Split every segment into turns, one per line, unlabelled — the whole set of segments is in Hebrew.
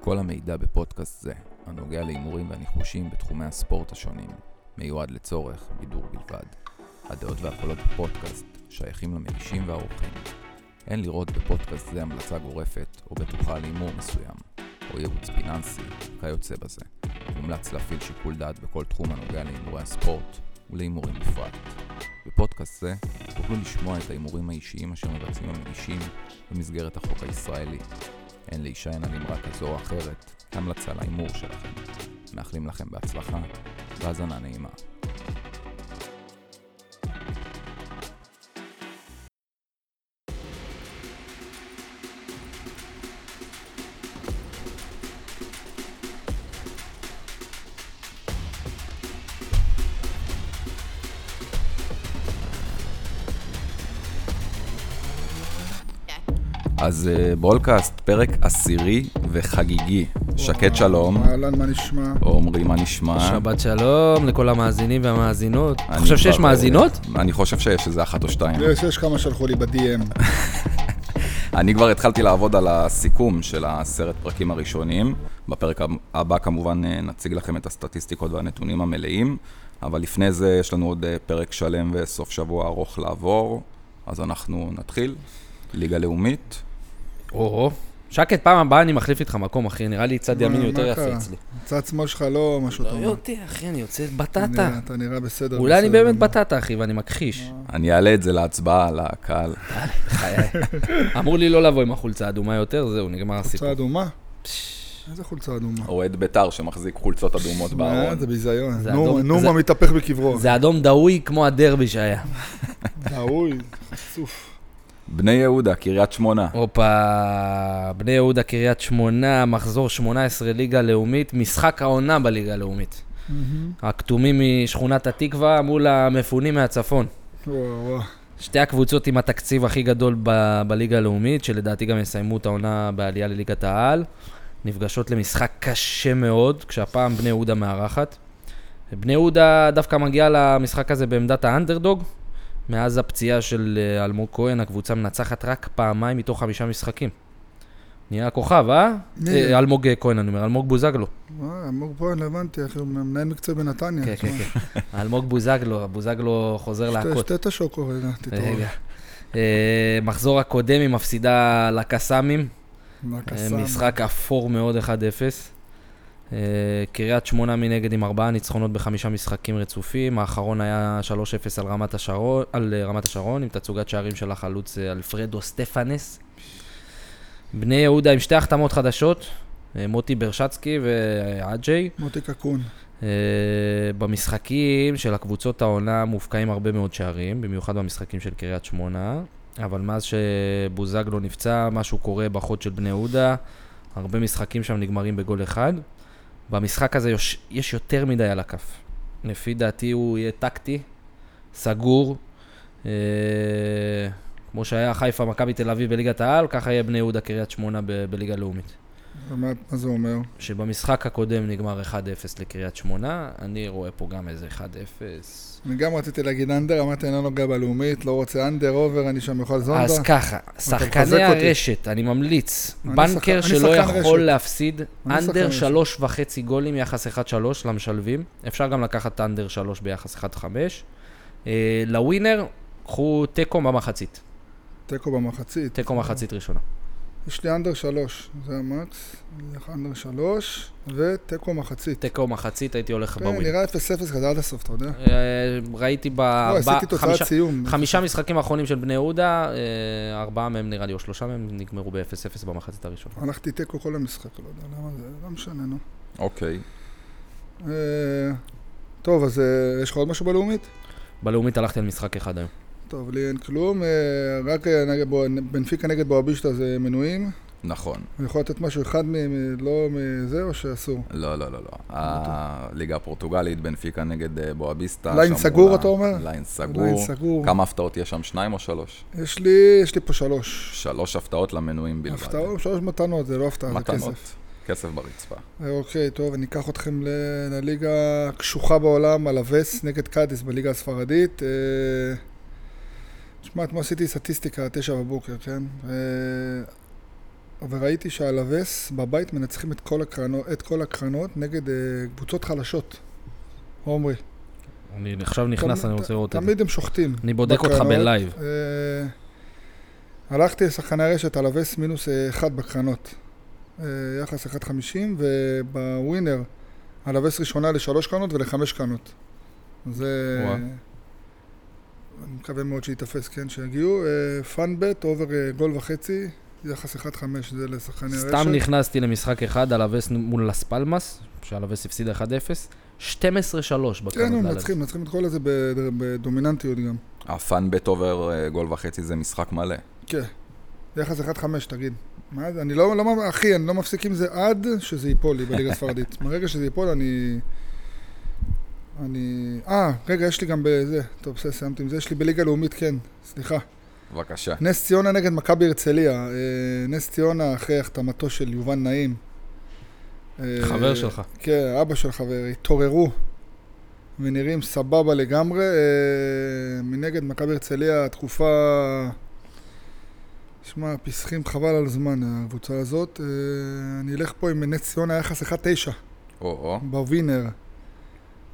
כל המידע בפודקאסט זה, הנוגע להימורים והניחושים בתחומי הספורט השונים, מיועד לצורך בידור בלבד. הדעות והקולות בפודקאסט שייכים למגישים והאורחים. אין לראות בפודקאסט זה המלצה גורפת או בטוחה להימור מסוים, או ייעוץ פיננסי, כיוצא בזה. מומלץ להפעיל שיקול דעת בכל תחום הנוגע להימורי הספורט ולהימורים בפרט. בפודקאסט זה תוכלו לשמוע את ההימורים האישיים אשר מבצעים המגישים במסגרת החוק הישראלי. אין להישען על אמרה כזו או אחרת, המלצה להימור שלכם. מאחלים לכם בהצלחה והאזנה נעימה. אז אה, ברולקאסט, פרק עשירי וחגיגי. שקד שלום,
אהלן, מה נשמע?
עומרי, מה
אה?
נשמע?
שבת שלום לכל המאזינים והמאזינות. אתה
אני
חושב שיש
כבר,
מאזינות?
אה, אני חושב שיש איזה אחת או שתיים.
יש, יש כמה שלחו לי ב-DM.
אני כבר התחלתי לעבוד על הסיכום של הסרט פרקים הראשונים. בפרק הבא כמובן אה, נציג לכם את הסטטיסטיקות והנתונים המלאים, אבל לפני זה יש לנו עוד אה, פרק שלם וסוף שבוע ארוך לעבור, אז אנחנו נתחיל. ליגה לאומית,
או, שקט, פעם הבאה אני מחליף איתך מקום, אחי, נראה לי צד
מה-
ימין
מה
יותר יפה
קרה?
אצלי.
צד שמאל שלך לא משהו
לא
טוב.
יודע, אחי, אני יוצא
נראה-
בטטה.
אתה נראה בסדר.
אולי אני
בסדר.
באמת בטטה, אחי, ואני מכחיש.
אני אעלה את זה להצבעה לקהל.
בחיי. אמרו לי לא לבוא עם החולצה האדומה יותר, זהו, נגמר
חולצה
הסיפור.
אדומה?
פש,
איזה חולצה אדומה?
אוהד בית"ר שמחזיק חולצות אדומות
אה,
בארון.
זה ביזיון.
אוקיי, זה
נו,
אדום-
נו,
זה-
מה מתהפך בקברו.
זה אדום דהוי כמו הדרבי שהיה.
ראוי, חצוף.
בני יהודה, קריית שמונה.
הופה, בני יהודה, קריית שמונה, מחזור 18 ליגה לאומית, משחק העונה בליגה הלאומית. הכתומים משכונת התקווה מול המפונים מהצפון.
וואו, וואו.
שתי הקבוצות עם התקציב הכי גדול ב- בליגה הלאומית, שלדעתי גם יסיימו את העונה בעלייה לליגת העל, נפגשות למשחק קשה מאוד, כשהפעם בני יהודה מארחת. בני יהודה דווקא מגיעה למשחק הזה בעמדת האנדרדוג. מאז הפציעה של אה, אלמוג כהן, הקבוצה מנצחת רק פעמיים מתוך חמישה משחקים. נהיה כוכב, אה?
מי?
אה, אלמוג אה, כהן, אני אומר, אלמוג בוזגלו.
אה, אמור פה, הבנתי, אחי, הוא מנהל מקצוע בנתניה.
כן, כן,
תשמע,
כן. אלמוג בוזגלו, בוזגלו חוזר
שתה-
להכות.
שתה את השוקו רגע, תתעורר.
רגע. אה, מחזור הקודם היא מפסידה לקסאמים,
מה
אה,
קסם?
משחק אפור מאוד 1-0. אה, קריית שמונה מנגד עם ארבעה ניצחונות בחמישה משחקים רצופים, האחרון היה 3-0 על רמת השרון, על אה, רמת השרון עם תצוגת שערים של החלוץ אה, אלפרדו סטפנס. בני יהודה עם שתי החתמות חדשות, אה, מוטי ברשצקי ועג'יי.
מוטי קקון.
אה, במשחקים של הקבוצות העונה מופקעים הרבה מאוד שערים, במיוחד במשחקים של קריית שמונה, אבל מאז שבוזגלו נפצע, משהו קורה בחוד של בני יהודה, הרבה משחקים שם נגמרים בגול אחד. במשחק הזה יש, יש יותר מדי על הכף. לפי דעתי הוא יהיה טקטי, סגור. אה, כמו שהיה חיפה, מכבי תל אביב בליגת העל, ככה יהיה בני יהודה קריית שמונה ב- בליגה הלאומית.
מה מה זה אומר?
שבמשחק הקודם נגמר 1-0 לקריית שמונה, אני רואה פה גם איזה 1-0.
אני גם רציתי להגיד אנדר, אמרתי, אני לא נוגע בלאומית, לא רוצה אנדר, אובר, אני שם אוכל זונדה.
אז ככה,
מחזק
שחקני
אותי.
הרשת, אני ממליץ,
אני שחק-
בנקר
אני
שלא
שחקן
יכול
רשת.
להפסיד,
אני שחקן
אנדר
רשת.
שלוש וחצי גולים, יחס 1-3 למשלבים, אפשר גם לקחת אנדר שלוש ביחס 1-5. אה, לווינר, קחו תיקו במחצית,
תיקו במחצית.
תיקו מחצית ראשונה.
יש לי אנדר שלוש, זה המקס, אני הולך אנדר שלוש, ותיקו מחצית.
תיקו מחצית, הייתי הולך
כן,
בווינר.
נראה 0-0 כזה עד הסוף, אתה יודע?
אה, ראיתי
לא,
בארבע,
עשיתי
חמישה...
תוצאת סיום.
חמישה משחקים האחרונים של בני יהודה, אה, ארבעה מהם נראה לי, או שלושה מהם נגמרו ב-0-0 במחצית הראשונה.
הלכתי תיקו כל המשחק, לא יודע למה זה, לא משנה, נו.
אוקיי.
אה, טוב, אז אה, יש לך עוד משהו בלאומית?
בלאומית הלכתי על משחק אחד היום.
טוב, לי אין כלום, אה, רק אה, נגד בוא- בנפיקה נגד בואבישטה זה מנויים.
נכון.
אני יכול לתת משהו אחד מ... מ- לא מזה, או שאסור?
לא, לא, לא, לא. הליגה הפורטוגלית, בנפיקה נגד אה, בואביסטה.
ליין
שם
סגור,
מולה.
אתה אומר?
ליין
עדיין
סגור.
סגור.
כמה הפתעות יש שם? שניים או שלוש?
יש לי, יש לי פה שלוש.
שלוש הפתעות למנויים בלבד.
הפתעות, שלוש מתנות, זה לא הפתעה, זה כסף.
מתנות. כסף ברצפה.
אוקיי, טוב, אני אקח אתכם ל- לליגה הקשוחה בעולם, הלווס נגד קאדיס בליגה הספרדית. אה, תשמע, אתמול עשיתי סטטיסטיקה, תשע בבוקר, כן? אה, וראיתי שהלווס בבית מנצחים את כל הקרנות, את כל הקרנות נגד אה, קבוצות חלשות. עומרי.
אני עכשיו נכנס,
תמיד-
אני רוצה לראות את זה.
תמיד הם שוחטים.
אני בודק אותך
בקרנות.
בלייב.
אה, הלכתי לשחקני הרשת על הווס מינוס אה, אחד בקרנות. אה, יחס 1.50, ובווינר על הווס ראשונה לשלוש קרנות ולחמש קרנות. זה...
וואה.
אני מקווה מאוד שייתפס, כן, שיגיעו. אה, פאנבט, אובר אה, גול וחצי, יחס 1.5 זה לשחקני הרשת.
סתם נכנסתי למשחק אחד, אלווס מול לס פלמאס, שאלווס הפסיד 1-0, 12-3 בקרנות.
כן, הם
לאלווס.
מנצחים, מנצחים את כל הזה בד- בדומיננטיות גם.
הפאן בית אובר אה, גול וחצי זה משחק מלא.
יחס 1.5, תגיד. מה זה? אני לא, לא, אחי, אני לא מפסיק עם זה עד שזה ייפול לי בליגה הספרדית. מרגע שזה ייפול, אני... אני... אה, רגע, יש לי גם בזה. טוב, בסדר, סיימתי עם זה. יש לי בליגה לאומית, כן. סליחה.
בבקשה.
נס ציונה נגד מכבי הרצליה. אה, נס ציונה אחרי החתמתו של יובל נעים. אה,
חבר שלך.
כן, אבא של חבר, התעוררו ונראים סבבה לגמרי. אה, מנגד מכבי הרצליה, התקופה... שמע, פיסחים חבל על זמן, הקבוצה הזאת. אה, אני אלך פה עם נס ציונה יחס 1-9
או-או.
בווינר.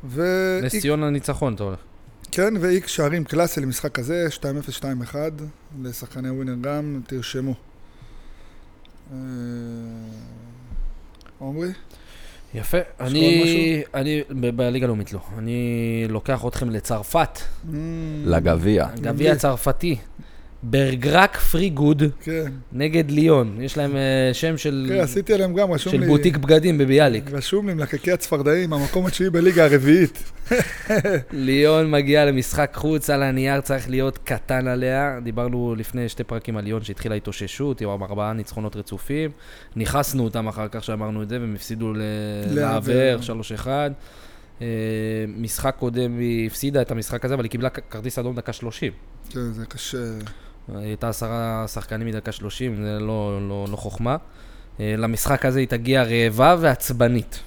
ו...
נס
איקס-
ציונה ניצחון, אתה הולך.
כן, ואיקס שערים קלאסי למשחק הזה, 2-0-2-1, לשחקני ווינר גם, תרשמו. אה, עומרי?
יפה.
יש
אני, אני, ב- בליגה הלאומית לא. אני לוקח אתכם לצרפת,
לגביע.
אה,
גביע צרפתי. ברגרק פרי גוד
כן,
נגד ליון. יש להם אה, שם של
כן, עשיתי עליהם גם, רשום לי...
של בוטיק בגדים בביאליק.
רשום לי מלקקי הצפרדעים, המקום התשיעי בליגה הרביעית.
ליון מגיע למשחק חוץ, על הנייר צריך להיות קטן עליה. דיברנו לפני שתי פרקים על ליון שהתחילה התאוששות, עם ארבעה ניצחונות רצופים. ניכסנו אותם אחר כך שאמרנו את זה, והם הפסידו ל-
לעבר.
לעבר 3-1. אה, משחק קודם היא הפסידה את המשחק הזה, אבל היא קיבלה כ- כרטיס אדום דקה 30.
כן, זה קשה.
הייתה עשרה שחקנים מדקה 30, זה לא, לא, לא חוכמה. אה, למשחק הזה היא תגיע רעבה ועצבנית.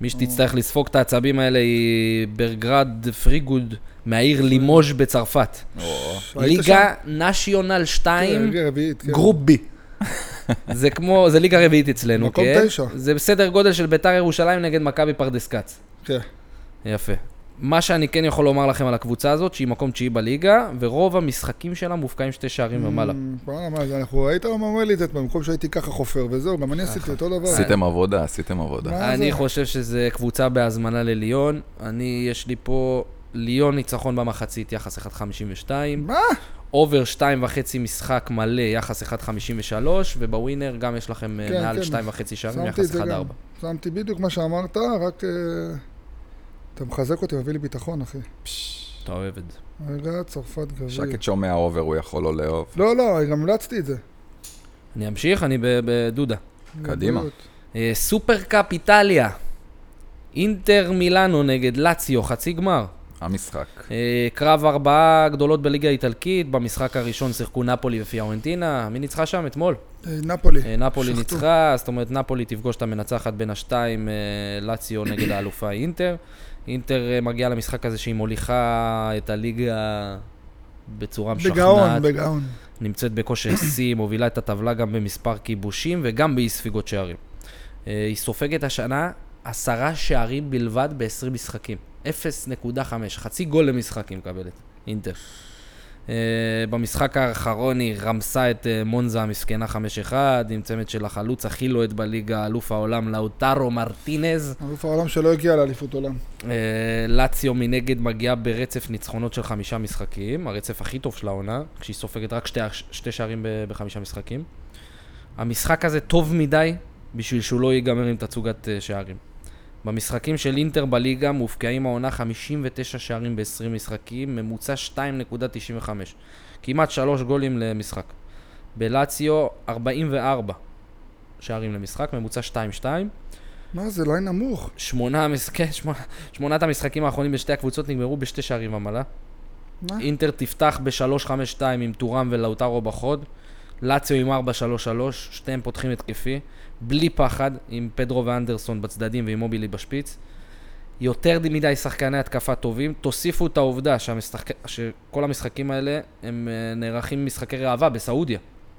מי שתצטרך לספוג את העצבים האלה היא ברגרד פריגוד מהעיר לימוז' בצרפת.
או-או.
היית
ליגה
שם?
נשיונל
כן,
2,
ליגה רביעית, כן.
גרופ בי. זה כמו, זה ליגה רביעית אצלנו,
מקום
כן?
תשע.
זה בסדר גודל של ביתר ירושלים נגד מכבי פרדס כץ.
כן.
יפה. מה שאני כן יכול לומר לכם על הקבוצה הזאת, שהיא מקום תשיעי בליגה, ורוב המשחקים שלה מופקעים שתי שערים ומעלה.
Mm, וואלה, מה זה, אנחנו ראית מה אומר לי את זה, במקום שהייתי ככה חופר וזהו, גם אני עשיתי אותו דבר.
עשיתם עבודה, עשיתם עבודה.
מה
אני
זה?
חושב שזה קבוצה בהזמנה לליון. אני, יש לי פה ליון ניצחון במחצית, יחס 1.52.
מה?
אובר 2.5 משחק מלא, יחס 1.53, ובווינר גם יש לכם אה,
כן,
מעל
כן.
2.5 שערים,
שמתי את
יחס
זה
1.4.
גם. שמתי בדיוק מה שאמרת, רק... אה, אתה מחזק אותי, מביא לי ביטחון, אחי.
אתה אוהב את זה.
רגע, צרפת גביע.
שקט שומע אובר, הוא יכול לא לאהוב.
לא, לא, גם המלצתי את זה.
אני אמשיך, אני ב- בדודה.
קדימה.
בריאות.
אה, סופרקאפ איטליה. אינטר מילאנו נגד לאציו, חצי גמר.
המשחק.
אה, קרב ארבעה גדולות בליגה האיטלקית, במשחק הראשון שיחקו נפולי ופיאורנטינה. מי ניצחה שם אתמול?
אה, נפולי.
אה, נפולי
שחטו.
ניצחה, זאת אומרת נפולי תפגוש את המנצחת בין השתיים, אה, לאציו נגד האלופה אינטר. אינטר אה, מגיעה למשחק הזה שהיא מוליכה את הליגה בצורה
בגאון,
משכנעת.
בגאון.
נמצאת בכושר שיא, מובילה את הטבלה גם במספר כיבושים וגם באי ספיגות שערים. אה, היא סופגת השנה עשרה שערים בלבד ב-20 משחקים. 0.5, חצי גול למשחק היא מקבלת, אינטר. אה, במשחק האחרון היא רמסה את אה, מונזה המסכנה 5-1, עם צמד של החלוץ הכי לוהט בליגה, אלוף העולם לאוטרו מרטינז.
אלוף העולם שלא הגיע לאליפות עולם.
אה, לאציו מנגד מגיעה ברצף ניצחונות של חמישה משחקים, הרצף הכי טוב של העונה, כשהיא סופגת רק שתי, שתי שערים ב, בחמישה משחקים. המשחק הזה טוב מדי בשביל שהוא לא ייגמר עם תצוגת אה, שערים. במשחקים של אינטר בליגה מופקעים העונה 59 שערים ב-20 משחקים, ממוצע 2.95. כמעט 3 גולים למשחק. בלציו 44 שערים למשחק, ממוצע 2-2.
מה זה, ליין נמוך.
שמונה, המש... כן, שמונה... שמונת המשחקים האחרונים בשתי הקבוצות נגמרו בשתי שערים ומעלה.
מה?
אינטר תפתח ב-3-5-2 עם טורם ולאוטרו בחוד. לאציו עם 4-3-3, שתיהם פותחים התקפי. בלי פחד, עם פדרו ואנדרסון בצדדים ועם מובילי בשפיץ. יותר מדי שחקני התקפה טובים. תוסיפו את העובדה שהמשחק... שכל המשחקים האלה הם אה, נערכים משחקי ראווה בסעודיה.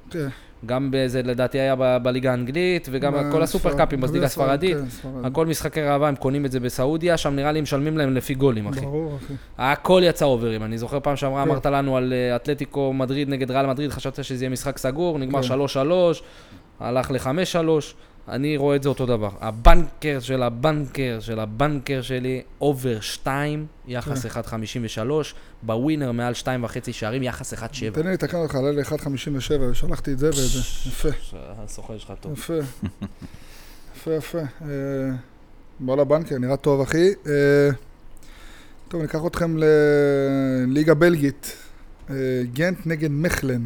כן.
גם זה לדעתי היה ב- בליגה האנגלית, וגם
מה-
כל הסופרקאפים
ספרד-
בליגה הספרדית.
כן, ספרד.
נכון. הכל משחקי ראווה, הם קונים את זה בסעודיה, שם נראה לי משלמים להם לפי גולים, אחי.
ברור, אחי.
הכל יצא אוברים. אני זוכר פעם שעברה
כן.
אמרת לנו על אה, אתלטיקו מדריד נגד ריאל מדריד, חשבת שזה יהיה משחק סגור, נגמר
כן.
3-3, הלך ל-5-3, אני רואה את זה אותו דבר. הבנקר של הבנקר של הבנקר שלי, אובר 2,
כן.
יחס 1.53, בווינר מעל 2.5 שערים, יחס 1.7.
תן לי לתקן אותך, עלה ל-1.57, ושלחתי את זה ואת זה. יפה,
הסוחר שלך טוב.
יפה. יפה, יפה. אה, וואלה בנקר, נראה טוב, אחי. אה, טוב, ניקח אתכם לליגה בלגית. אה, גנט נגד מחלן.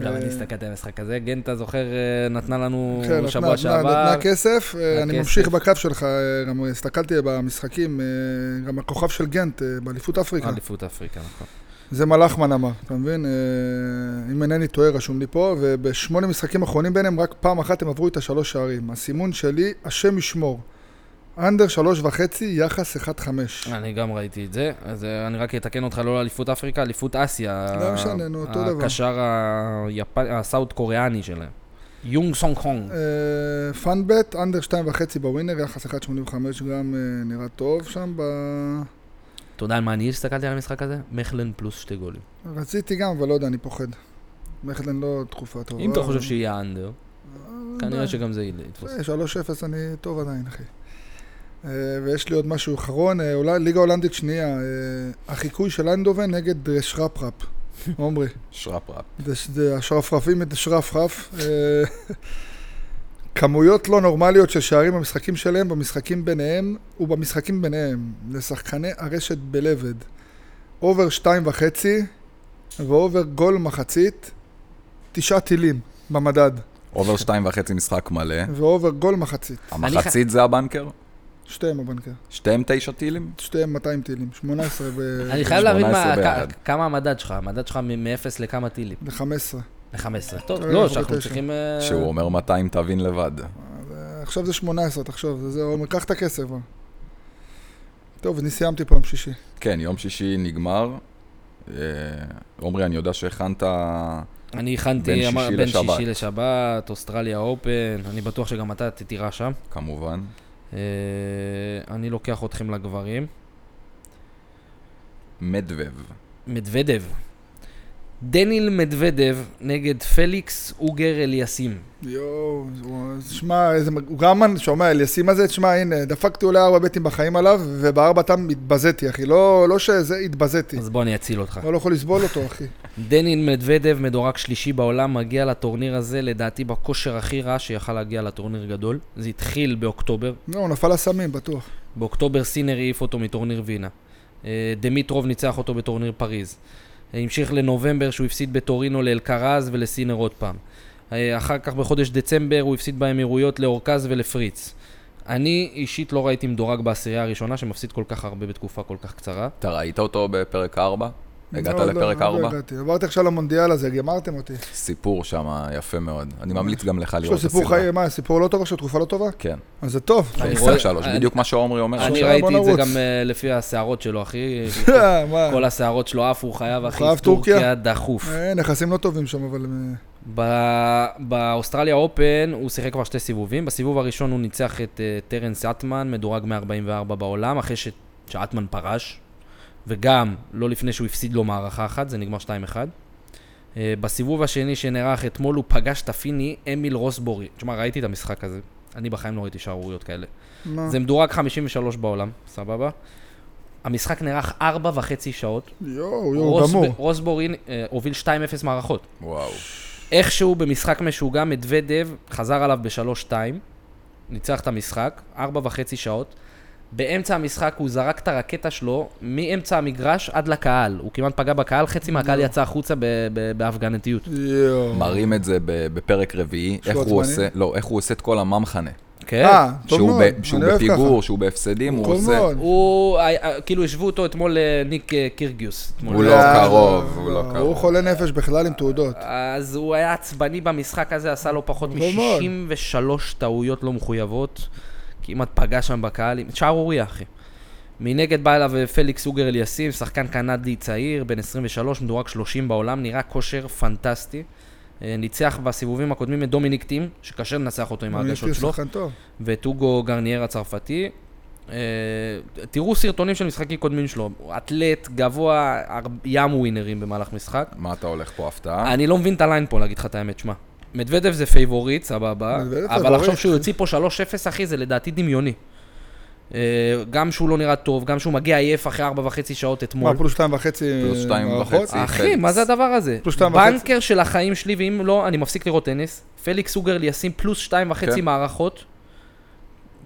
גם אני
אה,
הסתכלתי על המשחק הזה, גנטה זוכר אה, נתנה לנו
כן, נתנה-
שבוע
נתנה
שעבר.
נתנה כסף, אה, אני
כסף.
ממשיך בקו שלך, אה, גם הסתכלתי במשחקים, אה, גם הכוכב של גנט אה, באליפות אפריקה,
אליפות אפריקה, נכון.
זה מלאכמן אמר, אתה מבין? אה, אם אינני טועה, רשום לי פה, ובשמונה משחקים האחרונים ביניהם, רק פעם אחת הם עברו את השלוש שערים. הסימון שלי, השם ישמור. אנדר שלוש וחצי, יחס 1-5.
אני גם ראיתי את זה, אז אה, אני רק אתקן אותך לא לאליפות אפריקה, אליפות אסיה.
לא משנה, נו, אותו דבר.
הקשר היפ- הסאוט קוריאני שלהם. יונג סונג הונג.
אה, פאנבט, אנדר שתיים וחצי בווינר, יחס 1.85 גם אה, נראה טוב שם. ב...
אתה יודע על מה אני הסתכלתי על המשחק הזה? מכלן פלוס שתי גולים.
רציתי גם, אבל לא יודע, אני פוחד. מחלן לא תקופה טובה.
אם אתה חושב שיהיה אנדר,
אה,
כנראה שגם זה יתפוס.
אה, 3-0 אני טוב עדיין, אחי. אה, ויש לי עוד משהו אחרון, אה, אולי ליגה הולנדית שנייה, אה, החיקוי של אנדובן נגד אה, שרפרפ, עומרי.
שרפרפ.
זה- זה השרפרפים את שרפרף. אה, כמויות לא נורמליות של שערים במשחקים שלהם, במשחקים ביניהם ובמשחקים ביניהם, לשחקני הרשת בלבד. אובר שתיים וחצי ואובר גול מחצית, תשעה טילים במדד,
אובר שתיים וחצי משחק מלא.
ואובר גול מחצית,
המחצית זה הבנקר?
שתיהם הבנקר.
שתיהם תשע טילים?
שתיהם 200 טילים, 18 ב-
אני חייב להבין מה-
18
כ-
בעד.
כמה המדד שלך, המדד שלך מ-0 לכמה טילים?
ב-15.
ל-15. טוב,
אה,
לא,
אנחנו
שאנחנו
בתשע.
צריכים... אה,
שהוא אומר 200 תבין לבד.
אה, עכשיו זה 18, תחשוב, זה- זה עומר, קח את הכסף. בוא. טוב, אני סיימתי פעם שישי.
כן, יום שישי נגמר. אה, עומרי, אני יודע שהכנת...
אני הכנתי
בין
אמר-
שישי
בין
לשבת.
שישי לשבת, אוסטרליה אופן, אני בטוח שגם אתה תירא שם.
כמובן.
אה, אני לוקח אתכם לגברים.
מדבב.
מדוודב. דניל מדוודב נגד פליקס אוגר אליסים.
יואו, הוא- שמע, איזה... מג- הוא גם, שומע, אליסים הזה, תשמע, הנה, דפקתי אולי ארבע בטים בחיים עליו, ובארבע תם התבזיתי, אחי. לא לא שזה, התבזיתי.
אז בוא אני אציל אותך.
לא לא יכול לסבול אותו, אחי.
דניל מדוודב, מדורג שלישי בעולם, מגיע לטורניר הזה לדעתי בכושר הכי רע שיכל להגיע לטורניר גדול. זה התחיל באוקטובר.
לא, הוא נפל לסמים, בטוח.
באוקטובר סינר העיף אותו מטורניר וינה. אה, דמיטרוב ניצח אותו בטורניר פריז. אה, המשיך לנובמבר שהוא הפסיד בטורינו לאלקרז ולסינר עוד פעם. אה, אחר כך בחודש דצמבר הוא הפסיד באמירויות לאורקז ולפריץ. אני אישית לא ראיתי מדורג בעשירייה הראשונה שמפסיד כל כך הרבה בתקופה כל כך קצרה.
אתה ראית אותו בפרק 4? הגעת
לא, לא,
לפרק
לא
4?
הגעתי. עברתי עכשיו למונדיאל הזה, גמרתם אותי.
סיפור שם יפה מאוד. אני ממליץ גם לך
יש
לראות
לו
את הסדרה.
סיפור חיים, מה, סיפור לא טוב עכשיו, תקופה לא טובה?
כן.
אז זה טוב.
אני
משחק
רואה-
שלוש,
אני-
בדיוק מה שעומרי אומר
אני
עכשיו.
ראיתי את זה
בוא נרוץ.
גם אה, לפי השערות שלו, אחי.
מה?
כל השערות שלו עפו, הוא חייב, אחי,
חייב טורקיה.
טורקיה דחוף.
אה, נכסים לא טובים שם, אבל... אה,
ב- באוסטרליה אופן הוא שיחק כבר שתי סיבובים. בסיבוב הראשון הוא ניצח את uh, טרנס אטמן, מדורג 144 בעולם, אחרי ש... שאטמן פרש, וגם לא לפני שהוא הפסיד לו מערכה אחת, זה נגמר 2-1. Uh, בסיבוב השני שנערך אתמול הוא פגש את הפיני אמיל רוסבורי. תשמע, ראיתי את המשחק הזה. אני בחיים לא ראיתי שערוריות כאלה.
מה?
זה מדורג 53 בעולם, סבבה? המשחק נערך 4 וחצי שעות.
יואו, יואו, הוא
רוס-
גמור.
רוסבורי אה, הוביל 2-0 מערכות.
וואו.
איכשהו במשחק משוגע, מדוודב חזר עליו ב-3-2, ניצח את המשחק, ארבע וחצי שעות. באמצע המשחק הוא זרק את הרקטה שלו מאמצע המגרש עד לקהל. הוא כמעט פגע בקהל, חצי מהקהל יצא החוצה ב- ב- בהפגנתיות.
יואו.
מראים את זה ב- בפרק רביעי,
שהוא
איך
עצבני?
הוא עושה, לא, איך הוא עושה את כל הממחנה.
כן.
אה, טוב
שהוא
מאוד.
ב- שהוא
אני אוהב
בפיגור, שהוא בהפסדים,
ככה.
הוא
טוב
עושה...
מאוד.
הוא, אה, אה, כאילו, השוו אותו אתמול לניק אה, קירגיוס. אתמול.
הוא לא
אה,
קרוב, הוא לא
הוא
קרוב. אה,
חולה נפש בכלל עם תעודות.
אז הוא היה עצבני במשחק הזה, עשה לו פחות
טוב מאוד.
מ-63 טעויות לא מחויבות. כמעט פגע שם בקהל, עם- שערורייה אחי. מנגד בא אליו אה, פליקס אוגר אליסים, שחקן קנדי צעיר, בן 23, מדורג 30 בעולם, נראה כושר פנטסטי. אה, ניצח בסיבובים הקודמים את דומיניק טים, שקשה לנצח אותו עם
יש לי
ההגשות שלו,
שחקן טוב.
ואת אוגו גרניאר הצרפתי. אה, תראו סרטונים של משחקים קודמים שלו, הוא אתלט גבוה, הר- ים ווינרים במהלך משחק.
מה אתה הולך פה,
אה?
הפתעה?
אני לא מבין את הליין פה, להגיד לך את האמת, שמע. מדוודב זה פייבוריט, סבבה,
מדוודב
אבל
פייבוריט.
לחשוב שהוא יוציא פה 3-0, אחי, זה לדעתי דמיוני. אה, גם שהוא לא נראה טוב, גם שהוא מגיע עייף אחרי 4 וחצי שעות
מה,
אתמול.
פלוס שתיים וחצי אה,
פלוס שתיים
מערכות?
וחצי. זה
אחי,
חץ.
מה זה הדבר הזה?
פלוס שתיים וחצי.
בנקר של החיים שלי, ואם לא, אני מפסיק לראות טניס. פליקס אוגרל ישים פלוס שתיים וחצי
כן.
מערכות.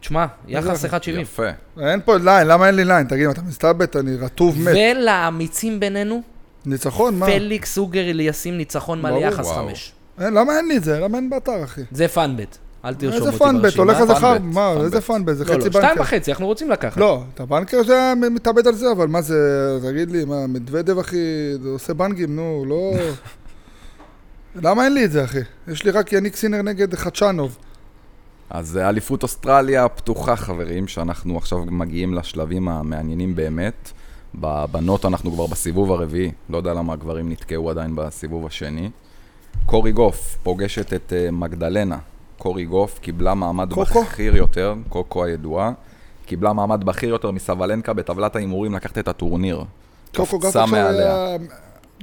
תשמע, יחס 1.70.
יפה.
אה, אין פה ליין, למה אין לי ליין? תגיד, אתה מסתלבט, אני רטוב מת.
ולאמיצים בינינו,
ניצחון, מה?
פליקס אוגרל ישים ניצחון מלא
ברור.
יחס
וואו.
חמש.
אין, אה, למה אין לי את זה? למה אין באתר, אחי?
זה פאנבט. אל תרשום אותי
איזה
ברשימה.
פאנבט, הולך
פאנבט,
לזכר, מה,
פאנבט.
איזה פאנבט, זה
לא,
חצי
לא, שתיים
בנקר.
וחצי, אנחנו רוצים לקחת.
לא, את הבנקר זה היה מתאבד על זה, אבל מה זה, תגיד לי, מה, מדוודב אחי, זה עושה בנגים, נו, לא... למה אין לי את זה, אחי? יש לי רק יניק סינר נגד חדשנוב.
אז אה, אליפות אוסטרליה הפתוחה, חברים, שאנחנו עכשיו מגיעים לשלבים המעניינים באמת. בבנות אנחנו כבר בסיבוב הרביעי, לא יודע למה הגברים נתקעו עדיין בסיבוב השני. קורי גוף פוגשת את אה, מגדלנה. קורי גוף קיבלה מעמד
קוקו?
בכיר יותר, קוקו הידועה, קיבלה מעמד בכיר יותר מסבלנקה בטבלת ההימורים לקחת את הטורניר.
קוקו גף
קפצה
עכשיו
מעליה.
היה אה,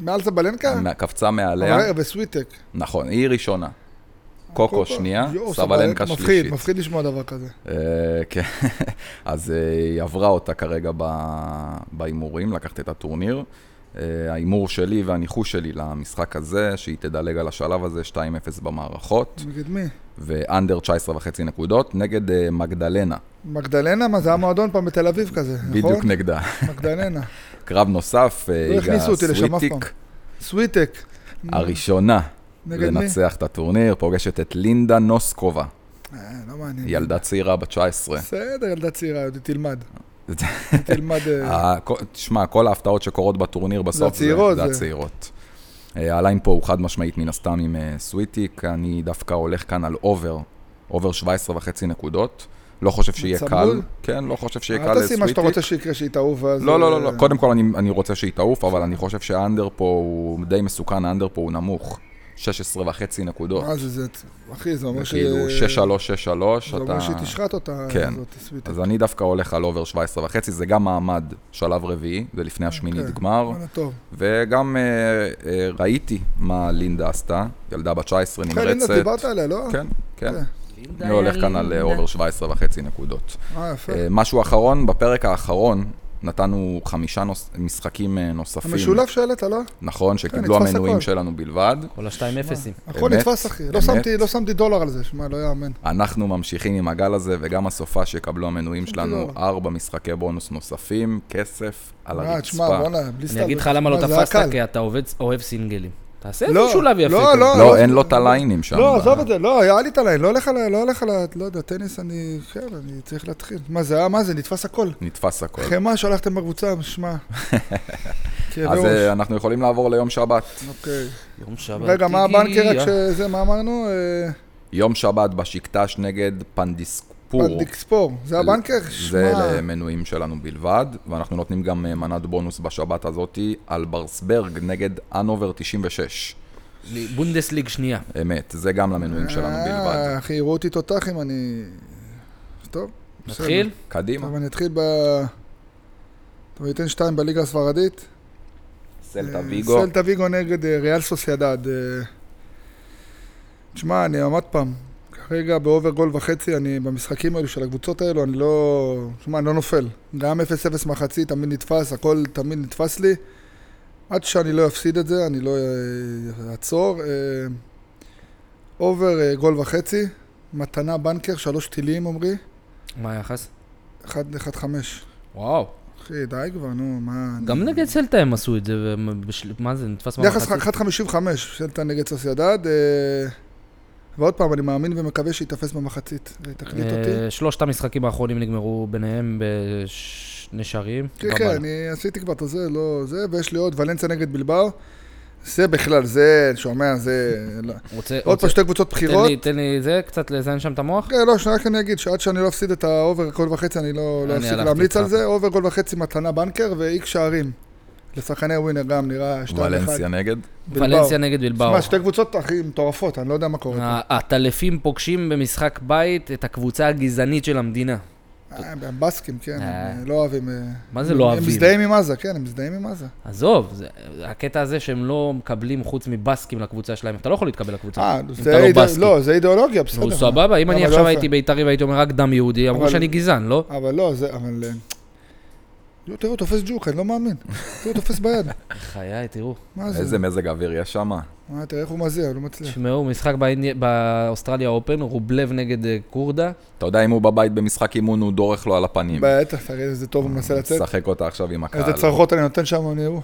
מעל זבלנקה?
קפצה מעליה,
כן. אבל- אה, וסוויטק.
נכון, היא ראשונה. קוקו שנייה,
יואו,
סבלנקה
מפחיד,
שלישית.
מפחיד לשמוע דבר כזה.
אה, כן, אז אה, היא עברה אותה כרגע ב- בהימורים, לקחת את הטורניר. אה, ההימור שלי והניחוש שלי למשחק הזה, שהיא תדלג על השלב הזה 2-0 במערכות,
נגד מי?
ואנדר 19 וחצי נקודות, נגד אה, מגדלנה,
נכון. מגדלנה, מה זה היה מועדון פעם בתל אביב כזה, נכון?
בדיוק נגדה.
מגדלנה.
קרב נוסף, אה,
לא הכניסו אותי לשם אף
סוויטיק,
פעם. סוויטק.
הראשונה
נגד מי?
לנצח את הטורניר, פוגשת את לינדה נוסקובה,
אה, לא מעניין.
ילדה צעירה בת 19.
בסדר, ילדה צעירה, היא תלמד. היא תלמד... אה,
ה- כל- תשמע, כל ההפתעות שקורות בטורניר בסוף,
הצעירות,
זה
זה.
הצעירות. אה, הליין פה הוא חד משמעית מן הסתם עם אה, סוויטיק, אני דווקא הולך כאן על אובר, אובר 17 וחצי נקודות. לא חושב שיהיה
צמוד?
קל. כן, לא חושב שיהיה קל
אל תשים מה שאתה רוצה
לסוויטיק.
שיקרה, שהיא תעוף, ואז...
לא, לא, לא, לא,
אה,
קודם כל אני- אני רוצה שהיא תעוף, אבל אני חושב שהאנדר פה הוא די מסוכן, האנדר פה הוא נמוך. 16 וחצי נקודות.
מה זה, זה... אחי, זה אומר
זה
ש...
כאילו 6-3, 6-3,
זה אומר שהיא
אתה...
תשחט אותה,
כן.
זאת סוויטק.
אז אני דווקא הולך על אובר 17 וחצי, זה גם מעמד שלב רביעי, זה לפני השמינית
אוקיי.
גמר.
וואלה, טוב.
וגם אה, אה, ראיתי מה לינדה עשתה, ילדה בת 19
כן, לינדה,
נמרצת.
דיברת עליה, לא?
כן, כן.
כן.
לינדה,
אני הולך כאן על אה,
לינדה.
אובר 17 וחצי נקודות.
אה, יפה.
אה, משהו אחרון, בפרק האחרון נתנו חמישה נוס- משחקים אה, נוספים.
המשולב שהעלית, לא?
נכון, שקיבלו
נתפס
המנויים
הכל.
שלנו בלבד.
כל השתיים אפסים.
הכל
אמת,
נתפס, אחי. לא
אמת.
שמתי- לא שמתי דולר על זה, שמע, לא יאמן.
אנחנו ממשיכים עם הגל הזה, וגם הסופה שיקבלו המנויים
שמתי
שלנו,
דולר.
ארבע משחקי בונוס נוספים, כסף על
אה, תשמע,
הרצפה.
בואנה, בלי סתם.
אני אגיד לך למה לא
מה, זה היה
תפסת,
קל.
כי אתה עובד- אוהב סינגלים. תעשה
לא,
איזה משולב יפה.
לא,
כזה.
לא.
לא, אין לו את הליינים שם. אה.
לא,
ב-
עזוב את זה, לא, היה לי את הליין, לא הולך על ה... לא הולך על ה... לא יודע, טניס אני... כן, אני צריך להתחיל. מה זה היה? מה זה? נתפס הכל.
נתפס הכל.
חמאה שהלכתם בקבוצה, שמע. כאבי
אה. אז
ראש.
אה, אנחנו יכולים לעבור ליום שבת.
אוקיי.
יום שבת.
רגע, מה הבנקר רק
אה.
שזה, מה אמרנו? אה,
יום שבת בשקטש נגד פנדיסקפור.
פנדיקספור. אה, זה הבנקר?
זה
שמע,
למנויים שלנו בלבד, ואנחנו נותנים גם אה, מנת בונוס בשבת הזאתי על ברסברג נגד אנובר 96.
בונדסליג שנייה.
אמת, זה גם למנויים שלנו
אה,
בלבד.
אחי, יראו אותי תותח אם אני... טוב. בסדר.
נתחיל?
קדימה,
טוב, אני אתחיל ב... טוב, אני אתן שתיים בליגה הספרדית.
סלטה
אה,
ויגו.
סלטה ויגו נגד אה, ריאל סוסיידד. אה, תשמע, אני עמד פעם, כרגע באובר גול וחצי, אני במשחקים האלו של הקבוצות האלו, אני לא... תשמע, אני לא נופל. גם 0-0 מחצית, תמיד נתפס, הכל תמיד נתפס לי. עד שאני לא אפסיד את זה, אני לא אה, אעצור. אה, אובר אה, גול וחצי, מתנה בנקר, שלוש טילים עמרי,
מה היחס?
1-1-5.
וואו.
אחי, די כבר, נו, מה... אני-
גם נגד סלטה הם עשו את זה, והם בשל- מה זה, נתפס
יחס
במחצית?
1.55, סלטה נגד סוסיידד, אה, ועוד פעם, אני מאמין ומקווה שייתפס במחצית. זה תקליט
אה,
אותי.
שלושת המשחקים האחרונים נגמרו ביניהם בשני שערים.
כן,
בבלה.
כן, אני עשיתי כבר את זה, לא זה, ויש לי עוד ולנסיה נגד בלבר. זה בכלל, זה, שומע, זה... לא.
רוצה...
עוד
רוצה-
פעם שתי קבוצות
אוקיי. תן
בחירות.
לי- תן לי זה, קצת לזיין שם את המוח.
כן, לא, שנייה רק אני אגיד שעד שאני לא אפסיד את האובר כל וחצי, אני לא לא
אני
אפסיק
הלכתי
להמליץ על
איתך.
זה. אובר כל וחצי מתנה בנקר ואיקס שערים. לשחקני ווינר גם נראה 2-1.
ולנסיה נגד?
בלבאו.
ולנסיה נגד בלבאו. אה,
שמע, שתי קבוצות הכי מטורפות, אני לא יודע מה קורה. פה.
ה- הטלפים פוגשים במשחק בית את הקבוצה הגזענית של המדינה.
אה, הם בסקים, כן,
אה.
הם אה, לא אוהבים... אה,
מה זה לא
הם
אוהבים?
מזדהים עם עזה, כן, הם מזדהים עם עזה.
עזוב, זה- הקטע הזה שהם לא מקבלים חוץ מבסקים לקבוצה שלהם, אתה לא יכול להתקבל לקבוצה.
אה,
אם
זה
אתה לא
אידא-
בסקי.
לא, זה אידיאולוגיה, בסדר.
נו, סבבה, אם
אבל
אני
לא
עכשיו
יפה.
הייתי בית"רי והייתי אומר רק דם יהודי, אמרו
אבל-
שאני גזען, לא?
אבל לא, זה, אבל... אה, יו, תראו, תופס ג'וק, אני לא מאמין. תראו, תופס ביד.
בחיי, תראו.
מה זה?
איזה מזג אוויר יש שם?
אה, תראה איך הוא מזיע, הוא לא מצליח.
תשמעו, משחק באינדי- באוסטרליה אופן, רובלב נגד אה, קורדה.
אתה יודע, אם הוא בבית במשחק אימון, הוא דורך לו על הפנים.
בטח, תראה איזה טוב הוא מנסה לצאת.
משחק אותה עכשיו עם הקהל.
איזה צרחות אני נותן שם, אני אראו.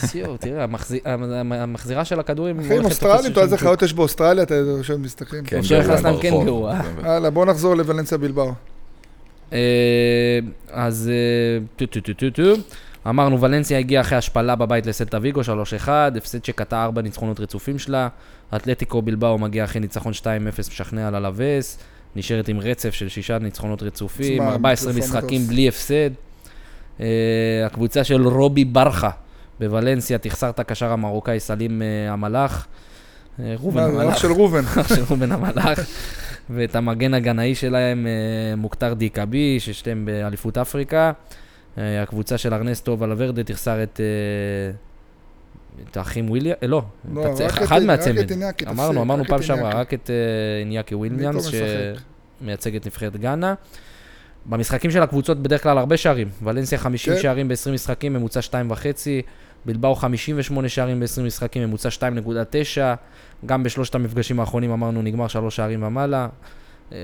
סיור, תראה, המחזי- המ- המחזירה של הכדורים...
אחי, עם אוסטרלים, אתה יודע איזה חיות יש באוסטרליה, אתה יודע, שם מסתכלים.
כן,
אפשר
גרוע,
לך סתם כן
ברחוב.
גרוע.
יאללה, בואו נחזור לוולנסיה בלבאו.
אה, אז אה, טו טו טו טו טו. אמרנו, ולנסיה הגיעה אחרי השפלה בבית לסלטה ויגו 3-1, הפסד שקטע 4 ניצחונות רצופים שלה. אתלטיקו בלבאו מגיע אחרי ניצחון 2-0 משכנע על הלווס. נשארת עם רצף של 6 ניצחונות רצופים,
תשמע,
14
מטורף,
משחקים
מטורף.
בלי הפסד. אה, הקבוצה של רובי ברכה בוולנסיה תחסר את הקשר המרוקאי סלים אה, המלאך. אה,
מה, לא
ראובן
זה אח
המלאך.
של ראובן.
אח של ראובן המלאך, ואת המגן הגנאי שלהם, אה, מוכתר דיקאבי, ששתיהם באליפות אפריקה. אה, הקבוצה של ארנסטו ולוורדה תחסר את... אה, את האחים וויליאם, לא,
לא,
את הצ-
רק את-
אחד
רק את
מהצמד.
איניאקי, תפסיק,
אמרנו, אמרנו
רק
פעם
את
שעברה,
איניאקי.
רק את אה, איניאקי וויליאמס,
פתאום משחק.
שמייצג את נבחרת גאנה. במשחקים של הקבוצות בדרך כלל הרבה שערים. ולנסיה 50
כן.
שערים ב-20 משחקים, ממוצע 2.5. בלבאו 58 שערים ב-20 משחקים, ממוצע 2.9. גם בשלושת המפגשים האחרונים אמרנו נגמר שלוש שערים ומעלה. אה,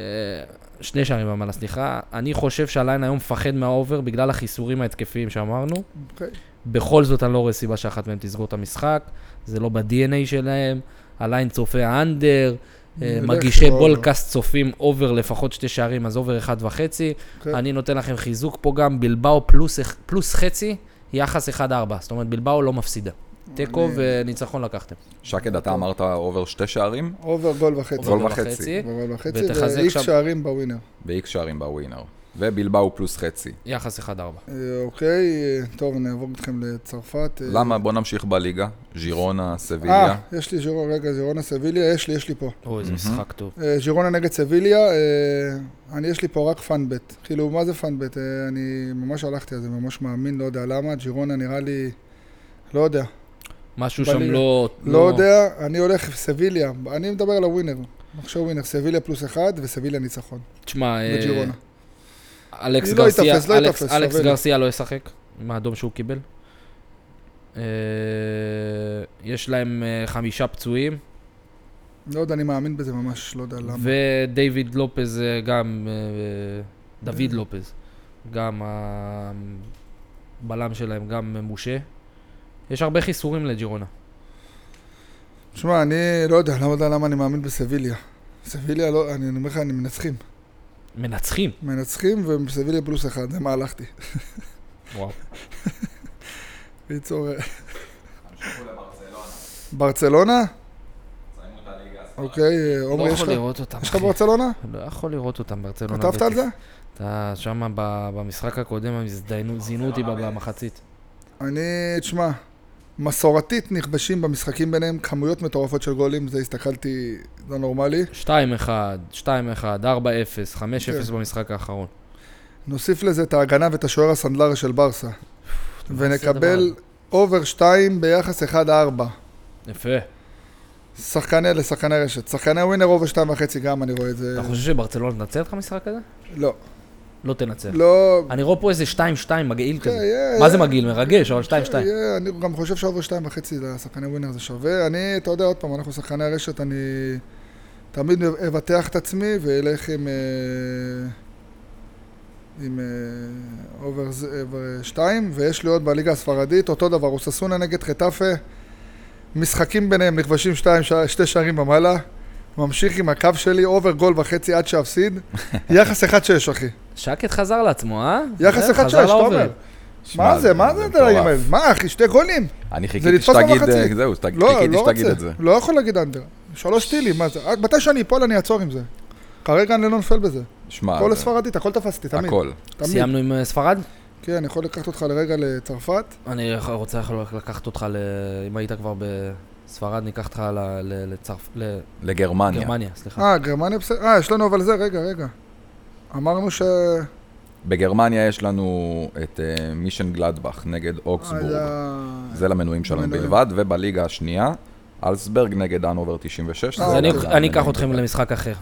שני שערים ומעלה, סליחה. אני חושב שהליין היום מפחד מהאובר בגלל החיסורים ההתקפיים שאמרנו.
אוקיי.
בכל זאת אני לא רואה סיבה שאחת מהם תסגור את המשחק, זה לא ב-DNA שלהם, הליין צופה אנדר, אה,
נלך
מגישי
לאובר.
בולקאסט צופים אובר לפחות שתי שערים, אז אובר אחד וחצי.
כן.
אני נותן לכם חיזוק פה גם, בלבאו פלוס אח- פלוס חצי, יחס 1-4, זאת אומרת בלבאו לא מפסידה. תיקו
אני-
וניצחון לקחתם.
שקד, אתה אמרת אובר שתי שערים,
אובר גול וחצי.
גול
אובר
וחצי.
גול וחצי,
ותחזק
ואיקס
שם-
שערים בווינר.
ואיקס שערים בווינר. ובלבאו פלוס חצי.
יחס 1-4.
אה, אוקיי, אה, טוב, נעבור איתכם לצרפת. אה,
למה? בוא נמשיך בליגה. ז'ירונה,
אה,
סביליה.
יש לי ז'ירונה, רגע, ז'ירונה סביליה, יש לי, יש לי פה.
אוי, איזה משחק טוב.
אה, ז'ירונה נגד סביליה, אה, אני, יש לי פה רק פאנבט. כאילו, מה זה פאנבט? אה, אני ממש הלכתי על זה, ממש מאמין, לא יודע למה. ג'ירונה נראה לי, לא יודע.
משהו
בליגה.
שם לא...
לא יודע, אני הולך עם סביליה. אני מדבר על הווינר. נחשוב ווינר, סביליה פלוס אחד וסביליה ניצחון.
תשמע, אה,
בג'ירונה.
אלכס
לא
גרסיה,
ייתפס, לא
אלכס,
ייתפס,
אלכס
שווה לי.
גרסיה לא ישחק עם האדום שהוא קיבל. אה, יש להם אה, חמישה פצועים,
לא יודע, אני מאמין בזה ממש, לא יודע למה.
ודייוויד לופז אה, גם, אה, דוד לופז, גם הבלם שלהם, גם אה, מושה. יש הרבה חיסורים לג'ירונה.
תשמע, אני לא יודע, לא יודע למה אני מאמין בסביליה. סביליה, לא, אני אומר לך, אני מנצחים.
מנצחים.
מנצחים וסביליה פלוס אחד, זה מה הלכתי.
וואו.
ליצור... ברצלונה? אוקיי,
לא
עומרי, יש
יכול לא,
לך?
לראות אותם.
יש לך
אחי.
ברצלונה?
לא יכול לראות אותם ברצלונה.
כתבת על
בטח.
זה?
אתה שם במשחק הקודם, הם הזדיינו- זינו אותי במחצית. לא.
אני, תשמע, מסורתית נכבשים במשחקים ביניהם כמויות מטורפות של גולים, זה הסתכלתי, לא נורמלי.
2-1, 2-1, 4-0,
כן.
5-0 במשחק האחרון.
נוסיף לזה את ההגנה ואת השוער הסנדלר של ברסה. ונקבל אובר 2 ביחס 1-4.
יפה.
כן. שחקני לשחקני רשת. שחקני ווינר אובר 2.5 גם, אני רואה את זה.
אתה חושב שברצלונה תנצל לך משחק הזה?
לא.
לא תנצל.
לא...
אני רואה פה איזה 2-2 מגעיל
כן, אה,
כזה.
יהיה-
מה זה מגעיל? מרגש, אבל 2-2.
יהיה, אני גם חושב שאובר 2.5 לשחקני ווינר זה שווה. אני, אתה יודע, עוד פעם, אנחנו שחקני הרשת, אני תמיד אבטח את עצמי ואלך עם... אה, עם אה, אובר 2, ויש לי עוד בליגה הספרדית, אותו דבר, אוססונה נגד חטאפה, משחקים ביניהם, נכבשים שתיים, שע- שתי שערים ומעלה, ממשיך עם הקו שלי, אובר גול וחצי עד שאפסיד, יחס 1-6 אחי,
שקט חזר לעצמו, אה?
יחס
זה,
1-6,
חזר
אתה
לאובר.
אומר, מה זה, מה זה,
מטורף.
הדברים האלה? מה אחי, שתי גולים,
אני
זה
חיכיתי
לתפוס
שתגיד,
במחצית.
אה, זהו, שת-
לא,
חיכיתי
לא
שתגיד
רוצה.
את זה.
לא יכול להגיד אנדר. שלוש טילים, מה זה? רק מתי שאני אפול אני אעצור עם זה. כרגע אני לא נופל בזה.
שמע,
כל
אה, זה-
הספרדית, הכל תפסתי, תמיד.
הכל.
תמיד.
סיימנו עם אה, ספרד?
כן, אני יכול לקחת אותך לרגע לצרפת.
אני רוצה יכול לקחת אותך, ל... אם היית כבר בספרד, ניקח אותך ל- ל- לצרפ...
לגרמניה.
לגרמניה, סליחה.
אה, גרמניה בסדר. אה, יש לנו אבל זה, רגע, רגע. אמרנו ש...
בגרמניה יש לנו את אה, מישן גלדבך נגד
אה,
אוקסבורג.
היה-
זה למנויים שלנו
למנויים.
בלבד, ובליגה השנייה, אלסברג נגד אנובר 96.
אה,
אז אני-
אוקיי.
אני אקח אתכם למשחק אחר.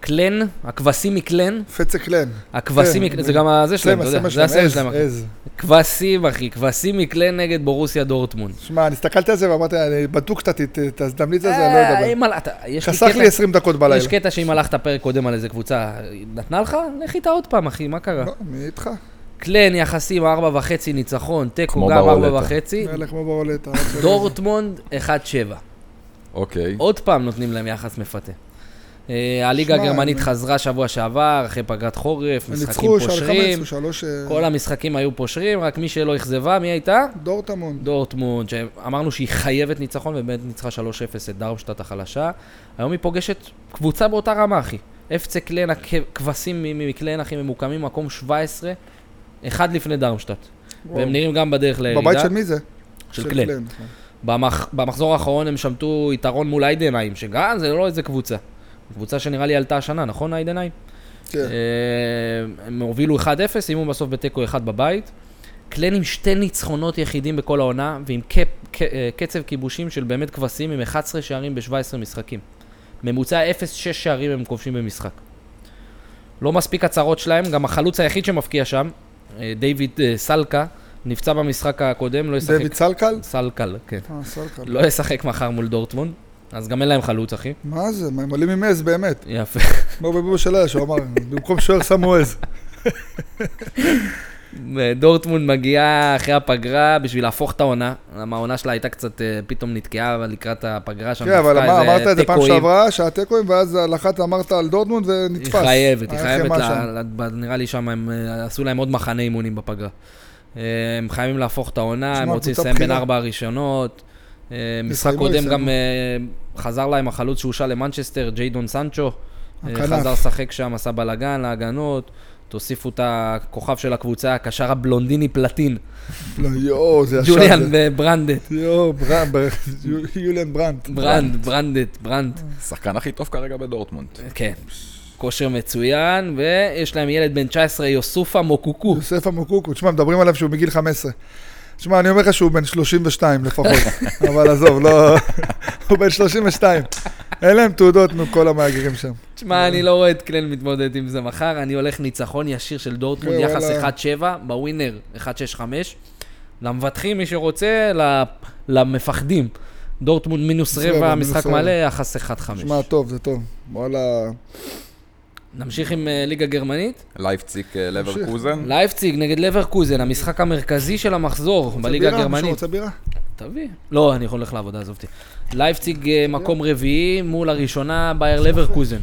קלן, הכבשים מקלן,
פצה קלן.
הכבשים
כן,
מקלן, זה גם ה- זה שלהם, אתה יודע, זה הסמל
עז,
שלהם. אחי.
עז.
כבשים, אחי, כבשים מקלן נגד בורוסיה דורטמונד.
שמע, אני הסתכלתי על זה ואמרתי, אני בדוק קצת, ת- ת- תזדמני את זה, אז אני לא
אה,
אדבר.
אם על- אתה- יש לי
חסך
קטע-
לי 20 דקות בלילה.
יש קטע שאם הלכת פרק קודם על איזה קבוצה, נתנה לך? לך איתה עוד פעם, אחי, מה קרה?
לא, מי איתך?
קלן יחסים 4.5 ניצחון, תיקו
כמו
גם
ברולטה.
4.5,
מלך כמו ברולטה.
דורטמונד 1.7.
אוקיי.
עוד פעם נותנים להם יחס מפתה. אה, הליגה
שמע,
הגרמנית
אני-
חזרה שבוע שעבר, אחרי פגרת חורף, משחקים
ניצחו, שער חמש,
פושרים,
ניצחו שלוש... אה,
כל המשחקים היו פושרים, רק מי שלא אכזבה, מי הייתה?
דורטמונד.
דורטמונד, שאמרנו שהיא חייבת ניצחון, ובאמת ניצחה 3-0 את דרמשטט החלשה. היום היא פוגשת קבוצה באותה רמה, אחי. אפצה קלן, הכ- כבשים מ- מקלן, אחי, ממוקמים מקום 17, אחד לפני דרמשטט. והם נראים גם בדרך לירידה.
בבית של מי זה?
של קלן. כן. במח... במחזור האחרון הם שמטו יתרון מול איידנהיים, שגם זה לא איזה קבוצה. קבוצה שנראה לי עלתה השנה, נכון איידנהיים?
כן.
אה, הם הובילו 1-0, סיימו בסוף בתיקו 1 בבית. קלן עם שתי ניצחונות יחידים בכל העונה, ועם קפ, ק, אה, קצב כיבושים של באמת כבשים עם 11 שערים ב-17 משחקים. ממוצע 0.6 שערים הם כובשים במשחק. לא מספיק הצהרות שלהם, גם החלוץ היחיד שמפקיע שם, אה, דיוויד אה, סלקה, נפצע במשחק הקודם, לא ישחק.
דויד סלקל?
סלקל, כן.
אה, סלקל.
לא ישחק מחר מול דורטמונד, אז גם אין להם חלוץ, אחי.
מה זה? מה, הם עולים עם עז באמת.
יפה.
כמו בבובה של אש, הוא אמר, במקום שוער שמו עז.
דורטמונד מגיעה אחרי הפגרה בשביל להפוך את העונה. למה העונה שלה הייתה קצת, אה, פתאום נתקעה אבל לקראת הפגרה שם.
כן, אבל
דווקא
אמר-
איזה
אמרת את זה פעם
תיקואים.
שעברה, שהיה תיקואים, ואז על אחת אמרת על דורטמונד
היא
ונתפס.
חייבת, היא
היה
חייבת,
חמאה
ל-
שם.
ל- ב- נראה לי שם הם אה, עשו להם עוד מחנה אימונים בפגרה. אה, הם חייבים להפוך את העונה,
שמע,
הם רוצים
קבוצה
לסיים בין
בכירה.
ארבע הראשונות. אה, משחק
יסיימו,
קודם
יסיימו.
גם אה, חזר להם החלוץ שהושל למנצ'סטר, ג'יידון סנצ'ו. אה,
הכנף.
חזר לשחק שם, עשה בלאגן להגנות. תוסיפו את הכוכב של הקבוצה, הקשר הבלונדיני פלטין,
לא, יואו, זה ישר.
ג'וליאן
זה.
ברנדט.
יואו, ברנד, יוליאן ברנד.
ברנד, ברנדט, ברנד.
השחקן הכי טוב כרגע בדורטמונד.
כן. כושר מצוין, ויש להם ילד בן 19, יוסופה מוקוקו.
יוסף המוקוקו, תשמע, מדברים עליו שהוא מגיל 15. תשמע, אני אומר לך שהוא בן 32 לפחות, אבל עזוב, לא... הוא בן 32. אין להם תעודות מכל המהגרים שם.
תשמע, אני לא רואה את קלן מתמודד עם זה מחר, אני הולך ניצחון ישיר של דורטמונד,
כן,
יחס
וואלה.
1-7, בווינר 1-6-5. למבטחים, מי שרוצה, ל- למפחדים. דורטמונד מינוס
מינוס
רבע,
רבע,
משחק
מינוס רבע.
מלא, יחס 1-5.
תשמע, טוב, זה טוב. וואלה,
נמשיך עם אה, ליגה גרמנית.
לייפציק אה, לברקוזן.
לייפציג נגד לברקוזן, המשחק המרכזי של המחזור בליגה
בירה? מישהו
הגרמנית.
רוצה בירה?
תביא. לא, אני הולך לעבודה, עזוב אותי. לייפציג אה, מקום רביעי מול הראשונה בייר לברקוזן.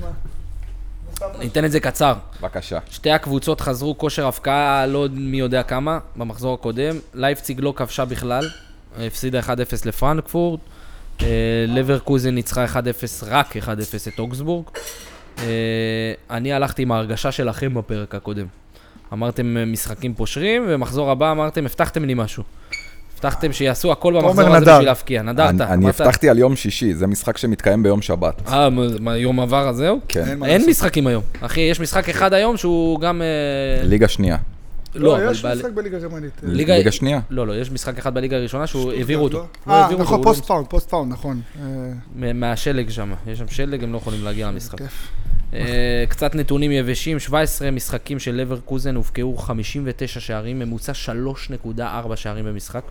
ניתן את זה קצר.
בבקשה.
שתי הקבוצות חזרו כושר הבקעה לא מי יודע כמה במחזור הקודם. לייפציג לא כבשה בכלל, הפסידה 1-0 לפרנקפורט. אה, לברקוזן ניצחה 1-0, רק 1-0 את אוגסבורג. אה, אני הלכתי עם ההרגשה שלכם בפרק הקודם. אמרתם אה, משחקים פושרים, ומחזור הבא אמרתם, הבטחתם לי משהו. הבטחתם שיעשו הכל במחזור הזה
נדר.
בשביל להפקיע. נדרת.
אני- אני
אמרת-
הבטחתי על יום שישי, זה משחק שמתקיים ביום שבת.
אה, מה, מה, יום עבר אז זהו?
כן.
מה
אין
לעשות.
משחקים היום. אחי, יש משחק אחד היום שהוא גם... אה,
ליגה שנייה.
לא, אבל...
יש
בעל-
משחק בליגה הגרמנית.
ליגה-
ליגה שנייה.
לא, לא, יש משחק אחד בליגה הראשונה שהוא העבירו אותו. לא
אה,
העבירו אותו,
נכון,
הוא לא-
פוסט פאונד, פוסט פאונד, נכון. אה,
מ- מהשלג שם, יש שם שלג, הם לא יכולים להגיע למשחק.
כיף.
אה, קצת נתונים יבשים, 17 משחקים של לברקוזן הובקעו 59 שערים, ממוצע 3.4 שערים במשחק.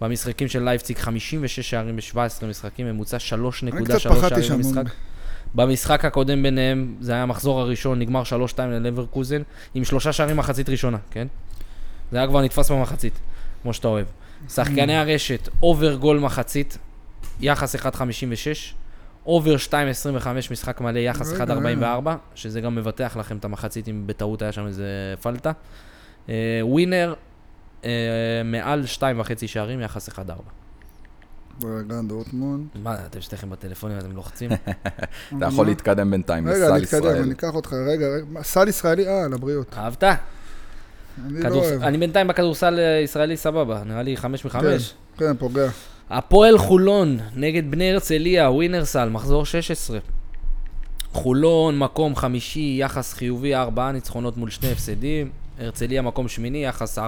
במשחקים של לייפציג 56 שערים ב-17 משחקים, ממוצע 3.3
אני קצת פחדתי
שערים
שם.
במשחק. במשחק הקודם ביניהם, זה היה המחזור הראשון, נגמר 3-2 ללברקוזן, עם שלושה שערים מחצית ראשונה, כן? זה היה כבר נתפס במחצית, כמו שאתה אוהב. שחקני הרשת, אובר גול מחצית, יחס 1.56, אובר 2.25 משחק מלא, יחס
רגע,
1.44,
לא
שזה גם מבטח לכם את המחצית אם בטעות היה שם איזה פלטה. אה, ווינר, אה, מעל 2.5 שערים, יחס 1.4.
בלגן דורטמונד.
מה, אתם שתיכם בטלפונים, אתם לוחצים?
אתה יכול להתקדם בינתיים
רגע,
לסל
נתקדם,
ישראל.
אני אקח אותך, רגע, רגע. מה, סל ישראלי, אה, לבריות.
אהבת?
אני לא
כדורס-
אוהב.
אני בינתיים בכדורסל הישראלי סבבה, נראה לי חמש מחמש.
כן, פוגע.
הפועל חולון נגד בני הרצליה, ווינרסל, מחזור 16. חולון, מקום חמישי, יחס חיובי, ארבעה ניצחונות מול שני הפסדים. הרצליה, מקום שמיני, יחס 4-4.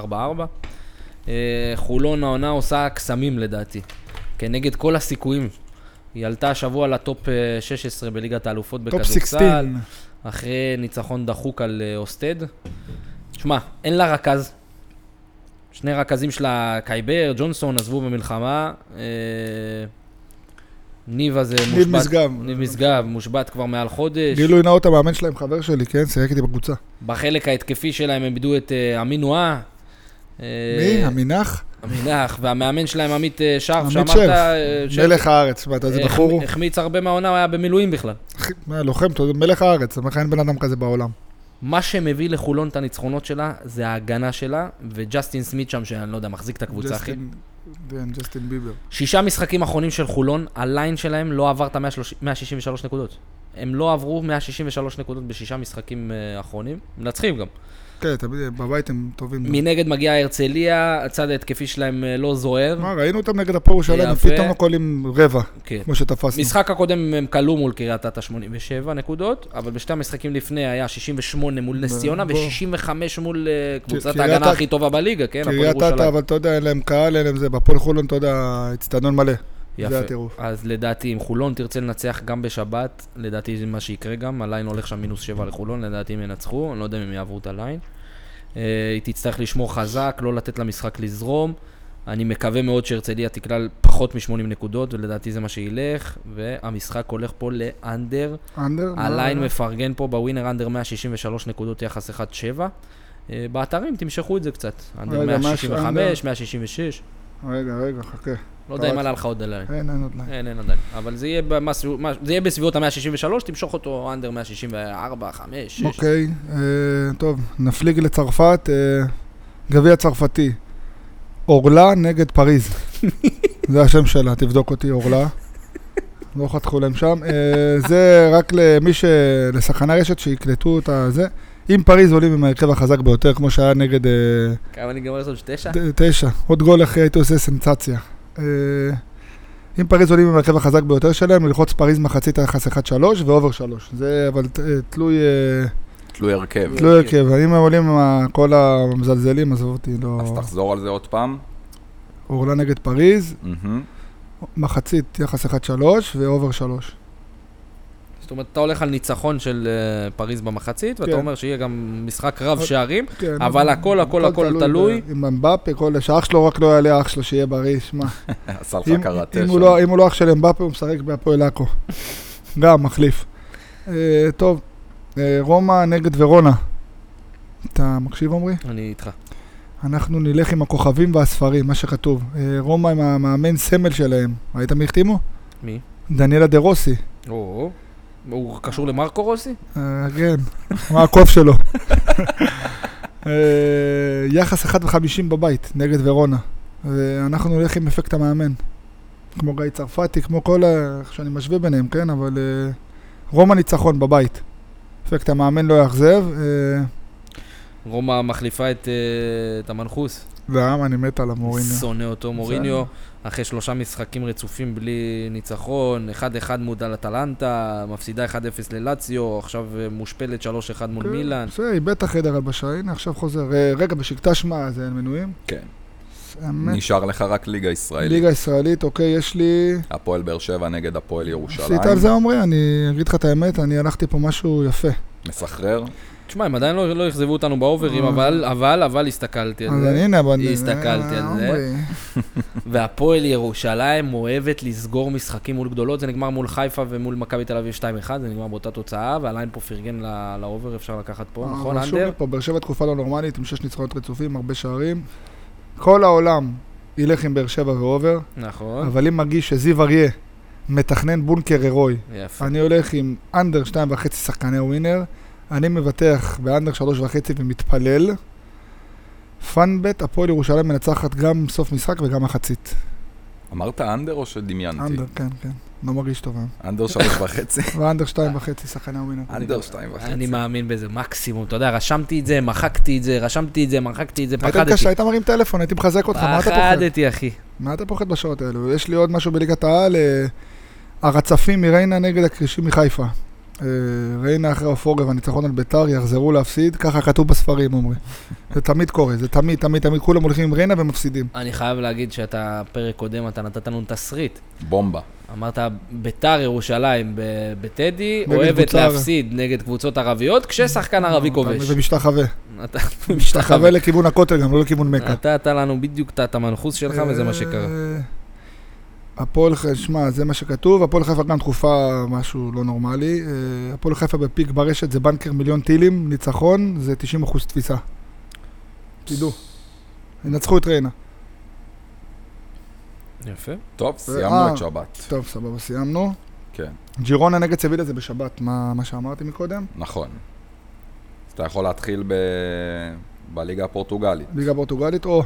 אה, חולון העונה עושה קסמים לדעתי, כנגד כל הסיכויים. היא עלתה השבוע לטופ אה, 16 בליגת האלופות
טופ
בכדורסל,
16.
אחרי ניצחון דחוק על אה, אוסטד. שמע, אין לה רכז. שני רכזים שלה, קייבר, ג'ונסון, עזבו במלחמה. אה, ניב הזה מושבת.
ניב משגב.
ניב משגב, מושבת כבר מעל חודש.
גילוי נאות המאמן שלהם, חבר שלי, כן? שיחק איתי בקבוצה.
בחלק ההתקפי שלהם הם איבדו את אה, אמין נועה. אה,
מי? המינח?
המינח, והמאמן שלהם עמית אה, שרף,
עמית
שאמרת...
שרף.
אה, שרף.
מלך הארץ, מה, אתה איזה
החמ-
בחור? הוא?
החמיץ הרבה מהעונה, הוא היה במילואים בכלל.
אחי, מה, לוחם, אתה יודע, מלך הארץ, אני אומר לך, אין בן אדם כזה בעולם.
מה שמביא לחולון את הניצחונות שלה, זה ההגנה שלה, וג'סטין סמית שם, שאני לא יודע, מחזיק את הקבוצה, אחי.
ג'סטין- כן, ג'סטין ביבר.
שישה משחקים אחרונים של חולון, הליין שלהם לא עבר את ה-163 נקודות. הם לא עברו 163 נקודות בשישה משחקים אה, אחרונים, מנצחים גם.
כן, תמיד בבית הם טובים.
מנגד מגיעה הרצליה, הצד ההתקפי שלהם אה, לא זוהר.
מה, ראינו אותם נגד הפועל ירושלים, הם
יפה.
פתאום הכל עם רבע,
כן.
כמו שתפסנו.
משחק הקודם הם כלו מול קריית אתא 87 נקודות, אבל בשתי המשחקים לפני היה 68 מול נס
ב-
ציונה
בוא.
ו-65 מול אה, קבוצת
קריית
ההגנה
אתא-
הכי טובה בליגה, כן? הפועל
קריית אתא,
ירושלים.
אבל אתה יודע, אין להם קהל, אין להם זה, בהפועל חולון, אתה יודע, אצטדיון מלא.
יפה.
זה הטירוף.
אז לדעתי, אם חולון תרצה לנצח גם בשבת, לדעתי זה מה שיקרה גם, הליין הולך שם מינוס 7 לחולון, לדעתי הם ינצחו, אני לא יודע אם הם יעברו את הליין. אה, היא תצטרך לשמור חזק, לא לתת למשחק לזרום. אני מקווה מאוד שהרצליה תקלל פחות מ-80 נקודות, ולדעתי זה מה שילך, והמשחק הולך פה לאנדר.
אנדר? מה-
הליין מפרגן פה בווינר אנדר 163 נקודות יחס 1-7. אה, באתרים תמשכו את זה קצת, אנדר
רגע, מה-
165, 166.
רגע, רגע, חכה.
לא יודע אם עלה לך עוד עליי.
אין, אין עוד ליין.
אין, אין עדיין. אבל זה יהיה, במסו... מה- זה יהיה בסביבות ה-163, תמשוך אותו אנדר 164, 5, 6.
אוקיי, אה, טוב, נפליג לצרפת, אה, גביע צרפתי. אורלה נגד פריז. זה השם שלה, תבדוק אותי, אורלה. לא חתכו להם שם. אה, זה רק למי ש... לשחקני רשת שיקלטו את הזה. אם פריז עולים עם ההרכב החזק ביותר, כמו שהיה נגד אה,
כמה נגמר לעשות? 9?
ת- תשע, עוד גול אחרי הייתי עושה סנסציה. אה, אם פריז עולים עם ההרכב החזק ביותר שלהם, ללחוץ פריז מחצית היחס 1-3 ואובר 3. זה אבל ת- אה, תלוי... אה,
תלוי הרכב.
לא הרכב, אם הם עולים עם ה- כל המזלזלים, עזוב אותי, לא...
אז תחזור על זה עוד פעם.
אורלה נגד פריז,
מהמם.
מחצית יחס 1-3 ואובר 3.
זאת אומרת, אתה הולך על ניצחון של אה, פריז במחצית, ואתה
כן.
אומר שיהיה גם משחק רב שערים.
כן,
אבל הכל, הכל, הכל תלוי.
ב- עם אמבפה, כל... שאח שלו רק לא יעלה אח שלו, שיהיה בריא, שמע.
עשה לך
אם-
קראטה
אם
שם.
הוא לא- אם הוא לא אח של אמבפה, הוא משחק בהפועל עכו. גם, מחליף. אה, טוב, אה, רומא נגד ורונה. אתה מקשיב, עמרי?
אני איתך.
אנחנו נלך עם הכוכבים והספרים, מה שכתוב. אה, רומא עם המאמן סמל שלהם. ראית מי החתימו?
מי?
דניאלה דה רוסי.
או. הוא קשור למרקו רוסי?
אה, כן, מה הקוף שלו. אה, יחס 1 ו-50 בבית, נגד ורונה. ואנחנו נלך עם אפקט המאמן. כמו גיא צרפתי, כמו כל ה... איך שאני משווה ביניהם, כן? אבל אה, רומא ניצחון בבית. אפקט המאמן לא יאכזב. אה,
רומא מחליפה את, אה, את המנחוס.
והעם, אני מת על המוריניו.
שונא אותו מוריניו. אחרי שלושה משחקים רצופים בלי ניצחון, 1-1 מול אטלנטה, מפסידה 1-0 ללציו, עכשיו אה, מושפלת 3-1 מול
כן,
מילאן.
בסדר, איבד את החדר הלבשה, הנה עכשיו חוזר. אה, רגע, בשקטש מה, זה אין מנויים?
כן.
אמת.
נשאר לך רק ליגה ישראלית.
ליגה ישראלית, אוקיי, יש לי...
הפועל באר שבע נגד הפועל ירושלים.
עשית על זה עמרי, אני אגיד לך את האמת, אני הלכתי פה משהו יפה.
מסחרר.
תשמע, הם עדיין לא, לא אכזבו אותנו באוברים,
אה.
אבל, אבל, אבל הסתכלתי על
אז
כן, זה.
אני הנה, אבל...
הסתכלתי על זה.
עמרי,
והפועל ירושלים אוהבת לסגור משחקים מול גדולות, זה נגמר מול חיפה ומול מכבי תל אביב 2-1, זה נגמר באותה תוצאה, והליין פה פרגן ל- לאובר, אפשר לקחת פה,
אבל
נכון,
שוב
אנדר?
פה, באר שבע תקופה לא נורמלית, עם שש ניצחונות רצופים, הרבה שערים. כל העולם ילך עם באר שבע ואובר,
נכון,
אבל אם מרגיש שזיו אריה מתכנן בונקר הירואי,
יפה.
אני הולך עם אנדר שתיים וחצי שחקני ווינר, אני מבטח באנדר שלוש וחצי ומתפלל. פאנבט, הפועל ירושלים מנצחת גם סוף משחק וגם מחצית.
אמרת אנדר או שדמיינתי?
אנדר, כן, כן. לא מרגיש טוב היום.
אנדר שלוש וחצי?
ואנדר שתיים וחצי, שחקני הווינר.
אנדר שתיים
אני
וחצי.
מאמין בזה, מקסימום, אתה יודע, רשמתי את זה, מחקתי את זה, רשמתי את זה, מחקתי את זה,
היית
פחדתי.
קשה, היית מרים טלפון, הייתי מחזק אותך, מה אתה פוחד?
פחדתי, אחי.
מה אתה פוחד בשעות האלו? יש לי עוד משהו בליגת העל, אה, הרצפים מריינה נגד הקרישים מחיפה. אה, ריינה אחרי הפורב, הניצחון על ביתר, יחזרו להפסיד, ככה כתוב בספרים, עומרי. זה תמיד קורה, זה תמיד, תמיד, תמיד, כולם הולכים עם ריינה ומפסידים.
אני חייב להגיד שאתה, פרק קודם, אתה נתת לנו תסריט.
בומבה.
אמרת, ביתר ירושלים ב- בטדי,
נגד
אוהבת
קבוצה ערב."
להפסיד נגד קבוצות ערביות כששחקן כן, ערבי כובש.
אה, ומשתחווה.
אתה
משתחווה לכיוון הכותל גם, לא לכיוון מכה.
נתת לנו בדיוק את את המנחוס שלך וזה מה שקרה.
אה, הפועל, ח- שמע, זה מה שכתוב, הפועל חיפה גם תקופה משהו לא נורמלי. אה, הפועל חיפה בפיק ברשת זה בנקר מיליון טילים, ניצחון, זה 90% תפיסה. תדעו. ינצחו את ריינה.
יפה.
טוב,
אה.
סיימנו את שבת.
טוב, סבבה, סיימנו.
כן,
ג'ירונה נגד סבילה זה בשבת, מה, מה שאמרתי מקודם.
נכון. אז אתה יכול להתחיל ב... בליגה הפורטוגלית.
ליגה פורטוגלית, או...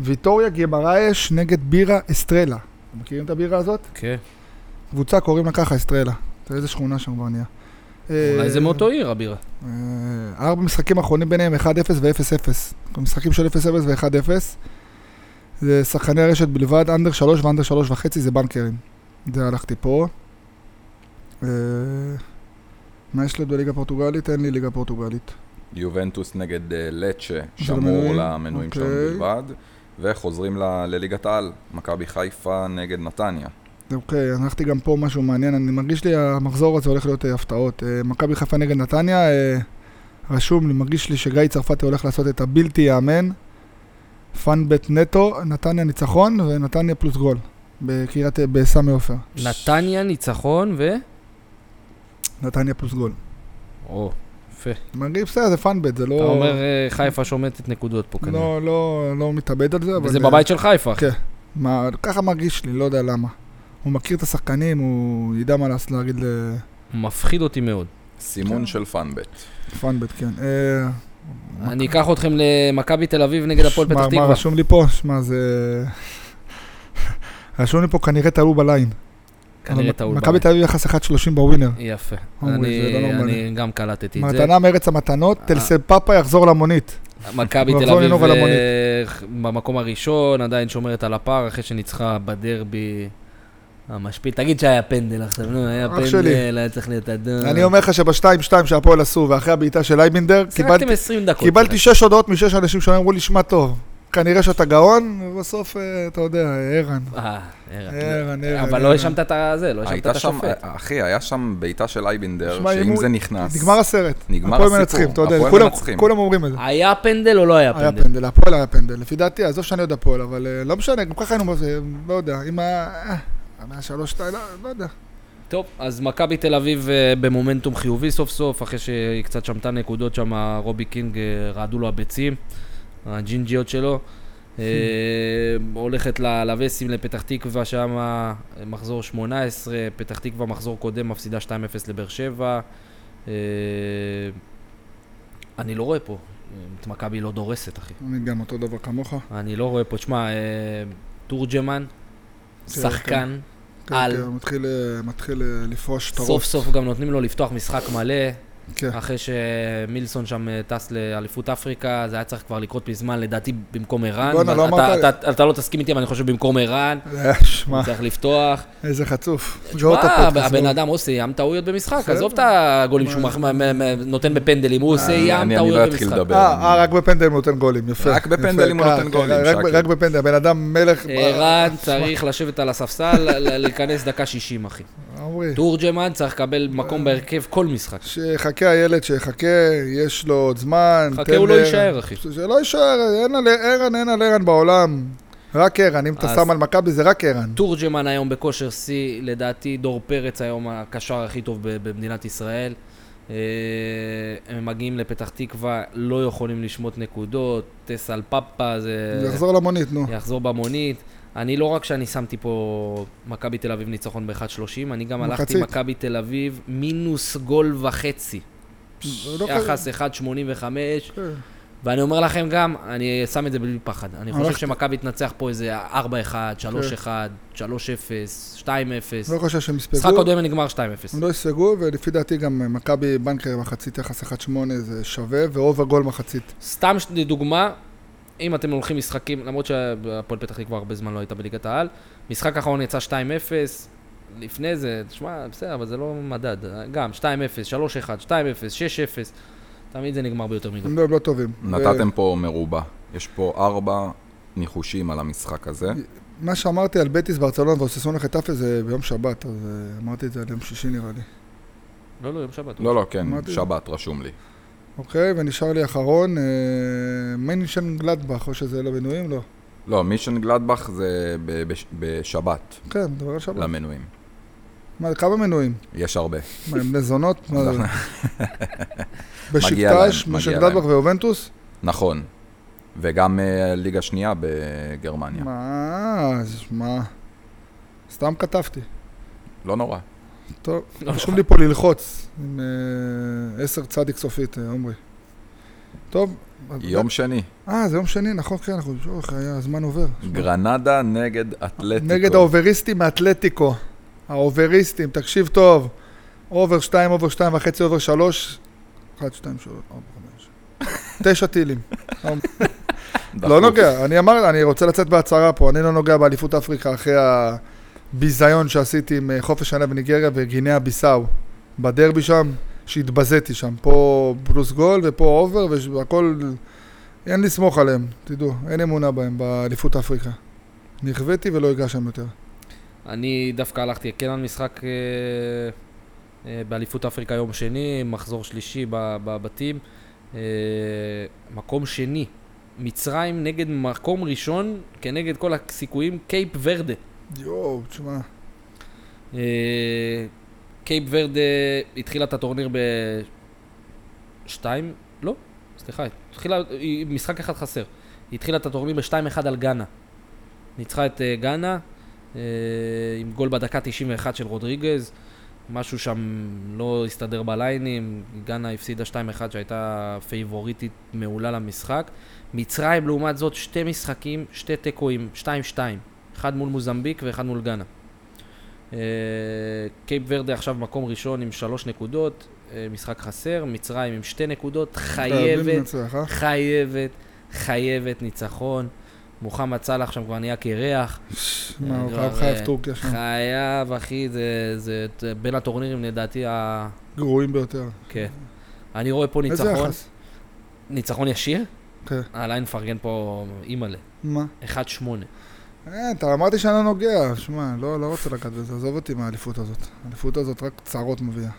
ויטוריה גימרייש נגד בירה אסטרלה. אתם מכירים את הבירה הזאת?
כן.
קבוצה קוראים לה ככה אסטרלה. אתה איזה שכונה שם כבר נהיה.
אולי זה
אה,
מאותו עיר, הבירה.
אה, ארבע משחקים אחרונים ביניהם 1-0 ו-0-0. משחקים של 0-0 ו-1-0. זה שחקני הרשת בלבד, אנדר 3 ואנדר 3 וחצי זה בנקרים. זה הלכתי פה. אה, מה יש לי עוד בליגה הפורטוגלית? אין לי ליגה פורטוגלית.
יובנטוס נגד אה, לצ'ה,
של
שמור
המנויים?
למנויים שלנו
אוקיי.
בלבד. וחוזרים ל- לליגת העל, מכבי חיפה נגד נתניה.
אוקיי, הלכתי גם פה משהו מעניין, אני מרגיש לי המחזור הזה הולך להיות אה, הפתעות. אה, מכבי חיפה נגד נתניה, אה, רשום לי, מרגיש לי שגיא צרפתי הולך לעשות את הבלתי ייאמן. פאנבט נטו, נתניה ניצחון ונתניה פלוס גול. בקריית, אה, בסמי עופר.
נתניה ניצחון ו...
נתניה פלוס גול.
או, יפה.
מרגיש, בסדר, זה פאנבט, זה לא...
אתה אומר אה, חיפה שומטת נקודות פה כנראה.
לא, לא, לא מתאבד על זה, אבל...
וזה
אה,
בבית של חיפה. אחי.
כן. מה, ככה מרגיש לי, לא יודע למה. הוא מכיר את השחקנים, הוא ידע מה לעשות, להגיד אה, ל...
מפחיד אותי מאוד.
סימון
כן.
של פאנבט.
פאנבט, כן. אה,
אני אקח אתכם למכבי תל אביב נגד הפועל
שמע,
פתח
מה
תקווה.
רשום לי פה? שמע, זה... רשום לי פה כנראה טעו בליין.
כנראה
אבל
טעות.
מכבי
בליין.
תל אביב יחס 1.30 בווינר.
יפה.
עומרי, זה לא
אני-
נורמלי.
אני גם קלטתי את זה.
מתנה מארץ המתנות,
אה.
טלסל פאפה יחזור למונית.
מכבי
הוא
תל
יחזור
אביב
לנהוג על המונית.
אה, במקום הראשון, עדיין שומרת על הפער אחרי שניצחה בדרבי המשפיל. תגיד שהיה פנדל עכשיו, נו, היה
אח שלי.
פנדל, לא היה צריך להיות אדום.
אני אומר לך שבשתיים-שתיים שהפועל עשו, ואחרי הבעיטה של אייבינדר, קיבלתי-
שיחקתם 20 דקות.
קיבלתי שש הודעות משש אנשים שאמרו לי, שמע טוב, כנראה שאתה גאון, ובסוף, אה, אתה יודע, ערן.
אה, ערן.
ערן, ערן.
אבל לא
ערן.
האשמת את הזה, לא האשמת
הייתה
את
שם, אה,
השופט.
אחי, היה שם בעיטה של אייבינדר,
שמע, אם
שאם
הוא-
זה נכנס,
נגמר הסרט.
נגמר
הפועל
הסיפור.
מנצחים, אתה יודע,
הפועל
כולם-
מנצחים.
כולם אומרים את זה.
היה פנדל או לא היה
היה
פנדל?
פנדל, הפועל היה פנדל. לפי דעתי, עזוב שאני עוד הפועל, אבל אה, לא משנה, גם ככה היינו, אה, לא יודע, אם היה... אה, אם היה שלוש, שתיים, לא לא יודע.
טוב, אז מכבי תל אביב אה, במומנטום חיובי סוף סוף, אחרי שהיא קצת שמטה נקודות שם, רובי קינג אה, רעדו לו הביצים, הג'ינג'יות שלו. אה, הולכת ל- לווסים לפתח תקווה שם, אה, מחזור 18, פתח תקווה מחזור קודם, מפסידה 2-0 לבאר שבע. אה, אני לא רואה פה, אה, את מכבי לא דורסת, אחי.
אני גם אותו דבר כמוך.
אני לא רואה פה, תשמע, אה, תורג'מן,
כן,
שחקן.
כן,
על.
כן, מתחיל, אה, מתחיל אה, לפרוש טרוף.
סוף סוף גם נותנים לו לפתוח משחק מלא,
כן.
אחרי שמילסון שם אה, טס לאליפות אפריקה, זה היה צריך כבר לקרות מזמן, לדעתי במקום ערן.
בואנה,
אבל
לא
אתה-
אמרת-
אתה- אתה לא תסכים איתי, אבל אני חושב במקום ערן,
אה, שמע,
הוא צריך לפתוח.
איזה חצוף. גאות
מה,
הפודקאסט,
הבן
לא.
אדם עושה ים טעויות במשחק,
בסדר.
עזוב את הגולים
מה-
שהוא מח- מ- מ- מ- נותן בפנדלים, הוא עושה
אני-
ים
אני לא
טעויות
אתחיל
במשחק.
לדבר.
אה, אה, רק בפנדלים הוא נותן גולים, יפה.
רק בפנדלים
יפה,
הוא
אה,
נותן
כן,
גולים,
רק-
שקי.
רק בפנדלים, הבן אדם
אה,
מלך...
ערן צריך לשבת על הספסל, ל- ל- להיכנס דקה 60, אחי.
עמרי,
תורג'מן צריך לקבל מקום בהרכב כל משחק.
שיחכה הילד, שיחכה, יש לו עוד זמן.
חכה,
תן
הוא לא
לערן.
יישאר, אחי.
שלא לא יישאר, אין על ערן, אין על ערן בעולם. רק ערן, אם אתה
אז-
שם על מכבי זה רק ערן.
תורג'מן היום בכושר שיא, לדעתי דור פרץ היום הקשר הכי טוב ב- במדינת ישראל. אה, הם מגיעים לפתח תקווה, לא יכולים לשמוט נקודות, טס על פאפה, זה
יחזור למונית, נו.
יחזור במונית. אני לא רק שאני שמתי פה מכבי תל אביב ניצחון ב-1.30, אני גם הלכתי
מחצית.
מכבי תל אביב מינוס גול וחצי.
זה לא כזה.
יחס 1.85,
כן.
ואני אומר לכם גם, אני שם את זה בלי פחד. אני חושב
הלכת-
שמכבי תתנצח פה איזה 4-1, 3-1, 3-0, 2-0.
לא חושב שהם
משחק
יספגו.
קודם נגמר 2-0.
הם לא יספגו, ולפי דעתי גם אה, מכבי בנקר מחצית יחס 1-8 זה שווה, ואובר גול מחצית.
סתם ש- לדוגמה, אם אתם הולכים משחקים, למרות שהפועל פתח תקווה הרבה זמן לא הייתה בליגת העל, משחק האחרון יצא 2-0, לפני זה, תשמע, בסדר, אבל זה לא מדד. גם 2-0, 3-1, 2-0, 6-0, תמיד זה נגמר ביותר מגול.
הם לא- הם לא טובים.
נתתם פה מרובע. יש פה ארבע ניחושים על המשחק הזה.
מה שאמרתי על בטיס ברצלונה ואוססונה חטאפה זה ביום שבת, אז אה, אמרתי את זה על יום שישי נראה לי.
לא, לא, יום שבת.
לא, לא, כן,
אמרתי-
שבת רשום לי.
אוקיי, ונשאר לי אחרון, אה, מנשן גלדבך, או שזה לא מנויים? לא.
לא, מישן גלדבך זה ב- בש- בשבת,
כן, דבר על שבת.
למנויים.
מה, כמה מנויים?
יש הרבה.
מה, הם בני זונות? מה זה?
לא. מגיע להם,
בשבטש,
מגיע
משה גלדבך ויובנטוס?
נכון. וגם אה, ליגה שנייה בגרמניה.
מה, אז מה? סתם כתבתי.
לא נורא.
טוב,
לא
רשום לי פה ללחוץ עם אה, עשר צדיק סופית, אה, עומרי. טוב. אז-
יום שני,
אה, זה יום שני, נכון, כן, אנחנו... אוח, היה- הזמן עובר.
גרנדה נגד אתלטיקו.
נגד האובריסטים מאתלטיקו. האובריסטים, תקשיב טוב. אובר 2, אובר 2 וחצי, אובר 3. 1, 2, 3, 4, 5. תשע טילים.
דחוף.
לא נוגע. אני אמר, אני רוצה לצאת בהצהרה פה. אני לא נוגע באליפות אפריקה אחרי הביזיון שעשיתי עם אה, חופש שנה בניגריה וגינאה ביסאו. בדרבי שם, שהתבזיתי שם. פה פלוס גול ופה אובר והכל... אין לסמוך עליהם, תדעו. אין אמונה בהם באליפות אפריקה. נכוויתי ולא אגע שם יותר.
אני דווקא הלכתי כן על משחק אה, אה, באליפות אפריקה יום שני, מחזור שלישי ב- בבתים. אה, מקום שני, מצרים נגד מקום ראשון, כנגד כל הסיכויים, קייפ ורדה.
יואו, תשמע.
אה, קייפ ורדה התחילה את הטורניר ב-2, לא, סליחה, התחילה, היא- משחק אחד חסר. היא התחילה את הטורניר ב-2-1 על גאנה. ניצחה את אה, גאנה אה, עם גול בדקה 91 של רודריגז. משהו שם לא הסתדר בליינים, גאנה הפסידה 2-1 שהייתה פייבוריטית מעולה למשחק. מצרים לעומת זאת שתי משחקים, שתי תיקואים, 2-2, אחד מול מוזמביק ואחד מול גאנה. אה, קייפ ורדה עכשיו מקום ראשון עם שלוש נקודות, אה, משחק חסר, מצרים עם שתי נקודות,
חייבים
חייבת
לנצח, אה?
חייבת, חייבת ניצחון. מוחמד סאלח שם כבר נהיה קרח.
מה, הוא
כבר,
חייב חייב
אה,
טורקיה שם.
חייב, אחי, זה, זה ת- בין הטורנירים לדעתי ה...
גרועים ביותר.
כן. אני רואה פה
איזה
ניצחון.
יחס?
ניצחון ישיר?
כן.
עליי נפרגן פה אימא'לה.
מה?
1-8.
אה, אתה אמרתי שאני לא נוגע, שמע, לא לא רוצה לגעת בזה, עזוב אותי מהאליפות הזאת. האליפות הזאת רק צרות מביאה.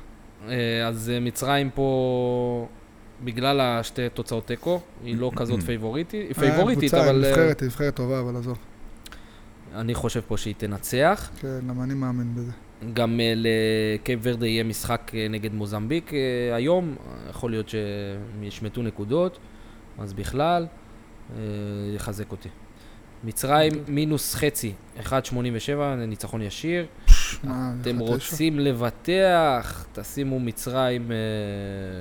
אה, אז אה, מצרים פה, בגלל השתי תוצאות תיקו, היא לא כזאת פייבוריטית, היא פייבוריטית,
אה, קבוצה,
אבל אה,
נבחרת, היא נבחרת טובה, אבל עזוב.
אני חושב פה שהיא תנצח.
כן, גם אני מאמין בזה.
גם אה, לקייפ ורדה יהיה משחק אה, נגד מוזמביק אה, היום, אה, יכול להיות שהם ישמטו נקודות, אז בכלל, אה, יחזק אותי. מצרים
אוקיי.
מינוס חצי, 1.87, ניצחון ישיר.
מה,
אה, אתם
אחד תשע?
רוצים לבטח, תשימו מצרים אה,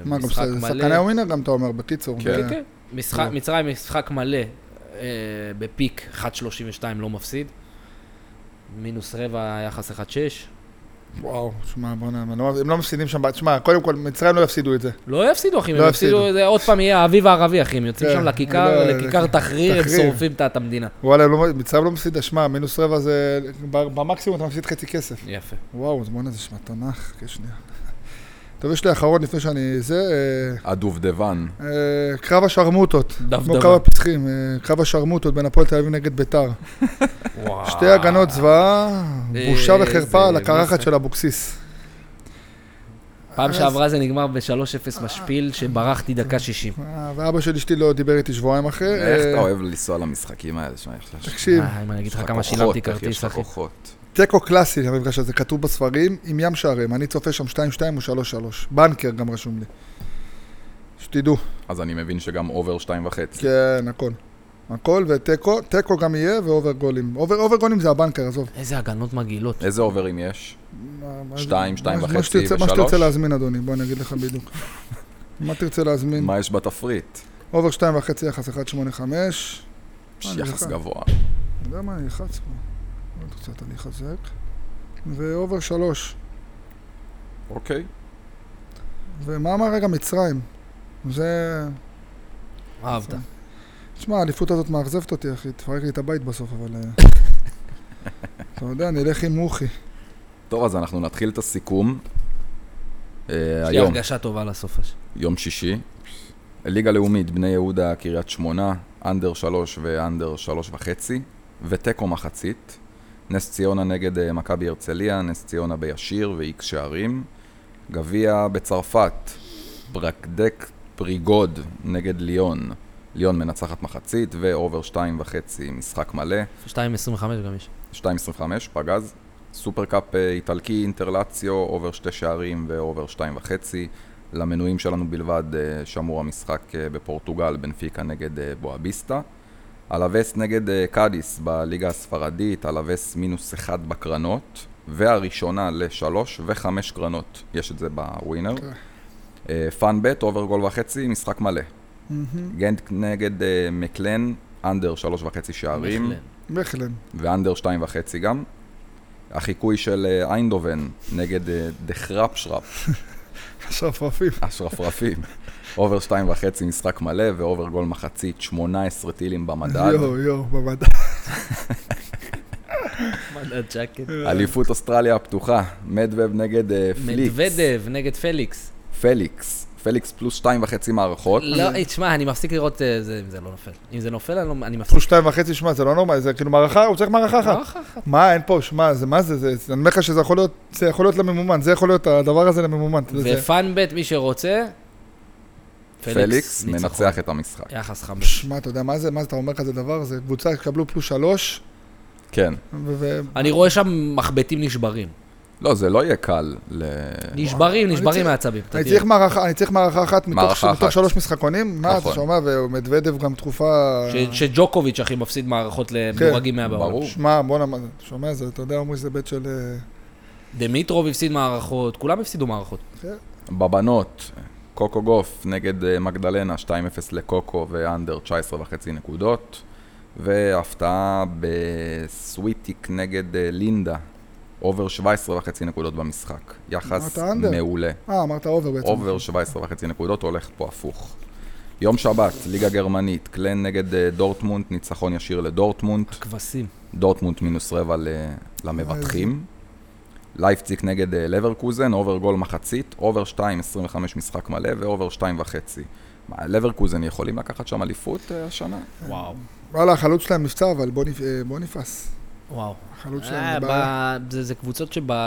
מה, גם
משחק
ש-
מלא.
שחקני לא. ווינר גם אתה אומר, בקיצור.
כן.
כן,
זה-
כן. משחק- מצרים משחק מלא, אה, בפיק 1.32 לא מפסיד. מינוס רבע, יחס 1.6.
וואו, שמע, בוא'נה, הם לא- הם לא מפסידים שם, שמע, קודם כל, מצרים לא יפסידו את זה.
לא יפסידו, אחי,
לא
הם יפסידו,
יפסידו.
זה עוד פעם יהיה האביב הערבי, אחי, הם יוצאים
כן,
שם לכיכר,
לא,
לכיכר תחריר, הם
תחריר.
שורפים את- את המדינה.
וואלה, הם לא- מצרים לא מפסידה, שמע, מינוס רבע זה, ב- במקסימום אתה מפסיד חצי כסף.
יפה.
וואו, אז בוא'נה, זה שמע תנ"ך, חכה שנייה. טוב, יש לי אחרון לפני שאני... זה... אה,
הדובדבן.
אה, קרב השרמוטות. כמו
דבדבן.
קרב הפצחים, אה, קרב השרמוטות בין הפועל תל אביב נגד ביתר.
אה,
וואו.
שתי הגנות זוועה,
אה,
בושה וחרפה על
איזה
הקרחת
משחק.
של אבוקסיס.
פעם
אז-
שעברה זה נגמר ב-3-0 משפיל, שברחתי דקה 60.
אה, ואבא של אשתי לא דיבר איתי שבועיים אחרי.
איך
אה,
אתה אוהב לנסוע למשחקים האלה? שמע, יש לך-
תקשיב,
אה, אם אני אגיד
יש
לך
לך
כמה
כוחות,
שילמתי
אחי, יש
כרטיס,
לך
אחי.
כוחות.
תיקו קלאסי המפגש הזה, כתוב בספרים, עם ים שערים. אני צופה שם 2-2 או 3-3. בנקר גם רשום לי. שתדעו,
אז אני מבין שגם אובר שתיים וחצי.
כן, הכל. הכל ותיקו, תיקו גם יהיה ואובר גולים. אובר אובר גולים זה הבנקר, עזוב.
איזה הגנות מגעילות.
כן.
איזה אוברים יש?
מה- מה-
שתיים, שתיים
מה- מה
וחצי
שתרצה- מה
ושלוש?
שתרצה להזמין, אדוני, בוא אני אגיד לך בדיוק. מה תרצה להזמין?
מה יש בתפריט?
אובר שתיים וחצי, יחס 1.85. אני
יחס
לך.
גבוה.
יודע מה, אני אלחץ פה. עוד קצת אני אחזק. ואובר שלוש.
אוקיי.
ומה אמר רגע מצרים? זה...
אהבת.
אה,
תשמע, האליפות הזאת מאכזבת אותי, אחי. תפרק לי את הבית בסוף, אבל... אה, אתה יודע, אני אלך עם מוחי.
טוב, אז אנחנו נתחיל את הסיכום. אה,
יש לי
היום,
הרגשה טובה לסוף. הש-
יום שישי. ליגה לאומית, בני יהודה, קריית שמונה, אנדר שלוש ואנדר שלוש וחצי, ותיקו מחצית. נס ציונה נגד אה, מכבי הרצליה, נס ציונה בישיר ואיקס שערים. גביע בצרפת, ברקדק פריגוד נגד ליון. ליון מנצחת מחצית, ואובר שתיים וחצי, משחק מלא.
2.25 גם יש.
2.25, פגז. סופרקאפ אה, איטלקי, אינטרלציו, אובר שתי שערים ואובר שתיים וחצי. למנויים שלנו בלבד אה, שמור המשחק אה, בפורטוגל, בנפיקה נגד אה, בואביסטה. אלווס נגד אה, קאדיס בליגה הספרדית, אלווס מינוס אחד בקרנות, והראשונה לשלוש וחמש קרנות, יש את זה בווינר.
אוקיי.
אה, פאנבט, אובר גול וחצי, משחק מלא.
מהמם.
גנט נגד אה, מקלן, אנדר שלוש וחצי שערים.
בהחלט.
בכלן.
ואנדר שתיים וחצי גם. החיקוי של אה, איינדובן נגד אה, דחרפ שרפ,
שרפרפים.
השרפרפים. אובר שתיים וחצי משחק מלא ואובר גול מחצית, 18 טילים במדד.
יואו, יואו, במדד.
מדד שקט.
אליפות אוסטרליה הפתוחה, מדווב נגד אה, פליקס.
מדוודב נגד פליקס.
פליקס. פליקס פלוס שתיים וחצי מערכות.
לא, אה, תשמע, אני מפסיק לראות אה, זה אם זה לא נופל. אם זה נופל, אני לא- אני מפסיק.
פלוס שתיים וחצי, שמע, זה לא נורמלי, זה כאילו מערכה, הוא צריך מערכה אחת.
לא,
מה, אין פה, שמע, זה מה זה, זה, אני אומר לך שזה יכול להיות, זה יכול להיות לממומן, זה יכול להיות הדבר הזה לממומן. אתה יודע, זה-
ופאנבט, מי שרוצה,
פליקס
ניצחון.
מנצח את המשחק.
יחס חמש.
שמע, אתה יודע מה זה, מה זה, אתה אומר כזה דבר, זה קבוצה, יקבלו פלוס שלוש,
כן.
ו... ו-
אני רואה שם מחבטים נשברים.
לא, זה לא יהיה קל. ל-
נשברים,
אני
נשברים
צריך-
מעצבים. אתה
אני
תראה.
צריך מערכה, אני צריך מערכה אחת מתוך
מערכה
ש- מתוך
אחת.
שלוש משחקונים, מה אתה
נכון.
שומע, ומדוודב גם תקופה...
ש- שג'וקוביץ', אחי, מפסיד מערכות למדורגים
כן.
מהבעולם.
ברור.
שמע, בואנה, מה- אתה שומע, זה, אתה יודע, אומרים שזה בית של... אה,
דמיטרוב הפסיד מערכות, כולם הפסידו מערכות.
בבנות, קוקו גוף נגד אה, מגדלנה, 2-0 לקוקו ואנדר 19 וחצי נקודות. והפתעה בסוויטיק נגד אה, לינדה, אובר 17 וחצי נקודות במשחק. יחס
אמרת אנדר.
מעולה.
אה, אמרת אובר בעצם.
אובר 17 וחצי נקודות, הולך פה הפוך. יום שבת, ליגה גרמנית, קלן נגד אה, דורטמונד, ניצחון ישיר לדורטמונד.
כבשים.
דורטמונד מינוס רבע ל- למבטחים. לייפציג נגד אה, לברקוזן, אובר גול מחצית, אובר 2, 25 משחק מלא ואובר 2 וחצי. מה, לברקוזן יכולים לקחת שם אליפות אה, השנה?
וואו.
וואלה, החלוץ שלהם נפצע, אבל בוא נפ- אה, בוא נפעס.
וואו.
החלוץ
אה,
שלהם זה
ב-
בעיה.
זה זה קבוצות שבמאני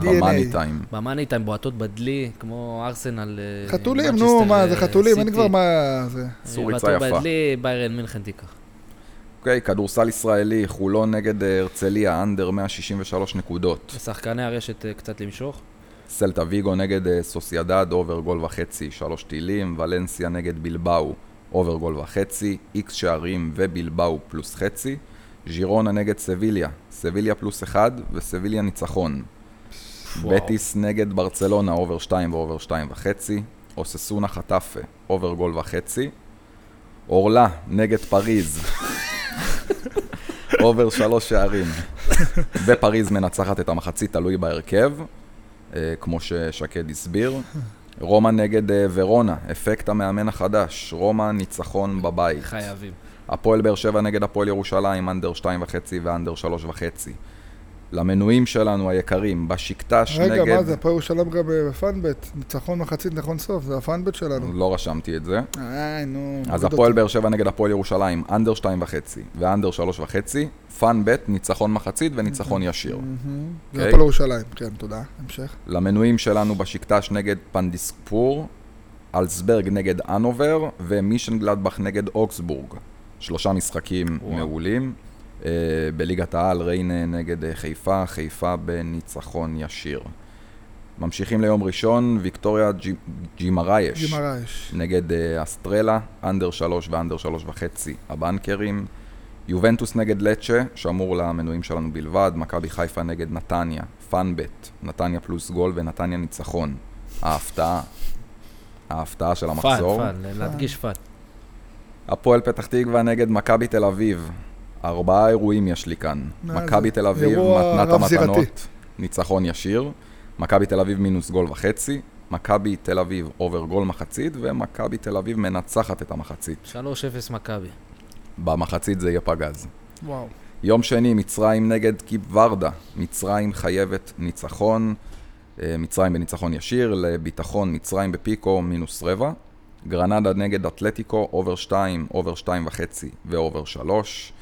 DNA.
במאני טיים.
טיים בועטות בדלי, כמו ארסנל. אה,
חתולים, נו,
מצ'סטר,
מה, זה
אה,
חתולים, אין
סיטי.
כבר מה... זה...
אסור
אה,
ריצה
בועטות
יפה.
בדלי, ביירן מינכן תיקח.
אוקיי, כדורסל ישראלי, חולון נגד אה, הרצליה, אנדר 163 נקודות.
לשחקני הרשת אה, קצת למשוך.
סלטה ויגו נגד אה, סוסיידד, אובר גול וחצי, 3 טילים. ולנסיה נגד בלבאו, אובר גול וחצי, איקס שערים ובלבאו פלוס חצי. ז'ירונה נגד סביליה, סביליה פלוס 1 וסביליה ניצחון.
וואו.
בטיס נגד ברצלונה, אובר 2 ואובר 2 וחצי. אוססונה חטאפה, אובר גול וחצי. אורלה נגד פריז. אובר שלוש שערים. ופריז מנצחת את המחצית, תלוי בהרכב, אה, כמו ששקד הסביר. רומא נגד אה, ורונה, אפקט המאמן החדש, רומא ניצחון בבית.
חייבים.
הפועל באר שבע נגד הפועל ירושלים, אנדר שתיים וחצי ואנדר שלוש וחצי. למנויים שלנו היקרים, בשקטש נגד...
רגע, מה זה, פה ירושלים גם בפאנבט, ניצחון מחצית נכון סוף, זה הפאנבט שלנו.
לא רשמתי את זה.
איי, נו.
אז
מוריד
הפועל
אותי.
באר שבע נגד הפועל ירושלים, אנדר שתיים וחצי ואנדר שלוש וחצי, פאן בית, ניצחון מחצית וניצחון ישיר.
מהמם. זה
אוקיי.
הפועל ירושלים, כן, תודה, המשך.
למנויים שלנו בשקטש נגד פנדיסקפור, אלסברג נגד אנובר ומישנגלדבך נגד אוקסבורג. שלושה משחקים
וואו.
מעולים. אה, בליגת העל ריינה נגד אה, חיפה, חיפה בניצחון ישיר. ממשיכים ליום ראשון, ויקטוריה ג'י- ג'ימרייש.
גמרא יש.
נגד אה, אסטרלה, אנדר שלוש ואנדר שלוש וחצי הבנקרים. יובנטוס נגד לצ'ה, שאמור למנויים שלנו בלבד. מכבי חיפה נגד נתניה, פאנבט, נתניה פלוס גול ונתניה ניצחון. ההפתעה. ההפתעה של
פאן,
המחזור.
פאן, להדגיש פאן.
הפועל פתח תקווה נגד מכבי תל אביב. ארבעה אירועים יש לי כאן.
מה
מכבי
זה?
תל אביב,
אירוע
מתנת
רב-זירתי.
המתנות, ניצחון ישיר. מכבי תל אביב מינוס גול וחצי. מכבי תל אביב אובר גול מחצית, ומכבי תל אביב מנצחת את המחצית.
3-0 מכבי.
במחצית זה יהיה פגז.
וואו.
יום שני, מצרים נגד קיפ ורדה. מצרים חייבת ניצחון. אה, מצרים בניצחון ישיר, לביטחון מצרים בפיקו מינוס רבע. גרנדה נגד אתלטיקו, אובר 2, אובר 2 וחצי ואובר 3.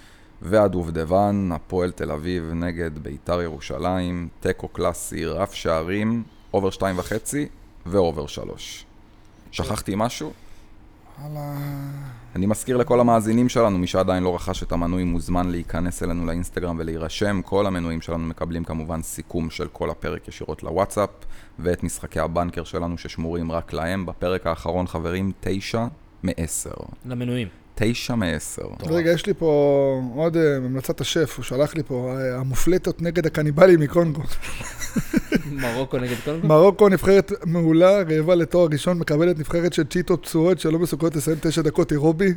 והדובדבן, הפועל תל אביב נגד ביתר ירושלים, תיקו קלאסי, רף שערים, אובר 2 וחצי ואובר 3. שכחתי משהו?
וואלה.
אני מזכיר לכל המאזינים שלנו, מי שעדיין לא רכש את המנוי מוזמן להיכנס אלינו לאינסטגרם ולהירשם. כל המנויים שלנו מקבלים כמובן סיכום של כל הפרק ישירות לוואטסאפ, ואת משחקי הבנקר שלנו ששמורים רק להם. בפרק האחרון, חברים, תשע מעשר.
למנויים.
תשע מעשר.
רגע, יש לי פה עוד אה, המלצת השף, הוא שלח לי פה, אה, המופלטות נגד הקניבלים מקונגו.
מרוקו נגד קונגו.
מרוקו נבחרת מעולה, רעבה לתואר ראשון, מקבלת נבחרת של צ'יטו פצועות שלא מסוגלות לסיים תשע דקות אירובי.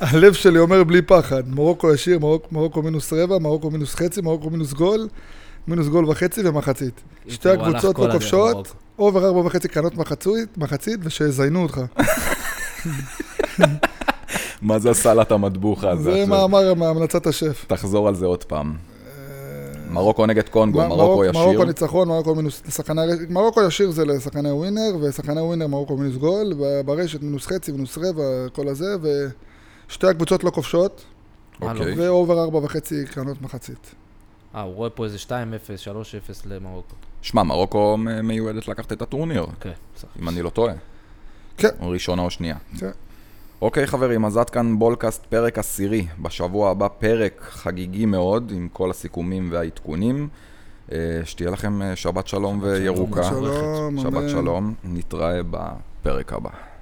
הלב שלי אומר בלי פחד, מרוקו ישיר, מרוק, מרוקו מינוס רבע, מרוקו מינוס חצי, מרוקו מינוס גול, מינוס גול וחצי ומחצית. שתי
הוא הלך
הקבוצות
כל
לא
הדרך
כובשות,
מרוקו.
אובר ארבע וחצי קרנות מחצית, מחצית ושיזיינו אותך.
מה זה הסלט המטבוחה הזה?
זה
עכשיו?
מאמר מהמלצת השף.
תחזור על זה עוד פעם. מרוקו נגד קונגו,
מר-
כן, מרוקו
מרוקו
ישיר.
ניצחון, מרוקו מינוס... לשחקני הרשת- מרוקו ישיר זה לשחקני ווינר, ושחקני ווינר מרוקו מינוס גול, ב- ברשת מינוס חצי, מינוס רבע, כל הזה, ושתי הקבוצות לא כובשות,
אוקיי.
ואובר ארבע וחצי קרנות מחצית.
אה, הוא רואה פה איזה 2-0, 3-0 למרוקו.
שמע, מרוקו מ- מיועדת לקחת את הטורניר,
אוקיי, בסדר.
אם אני לא טועה.
כן.
או ראשונה או שנייה.
זה-
אוקיי חברים, אז עד כאן בולקאסט פרק עשירי. בשבוע הבא פרק חגיגי מאוד, עם כל הסיכומים והעדכונים. אה, שתהיה לכם אה, שבת שלום וירוקה.
שלום,
שבת
אמן.
שלום, נתראה בפרק הבא.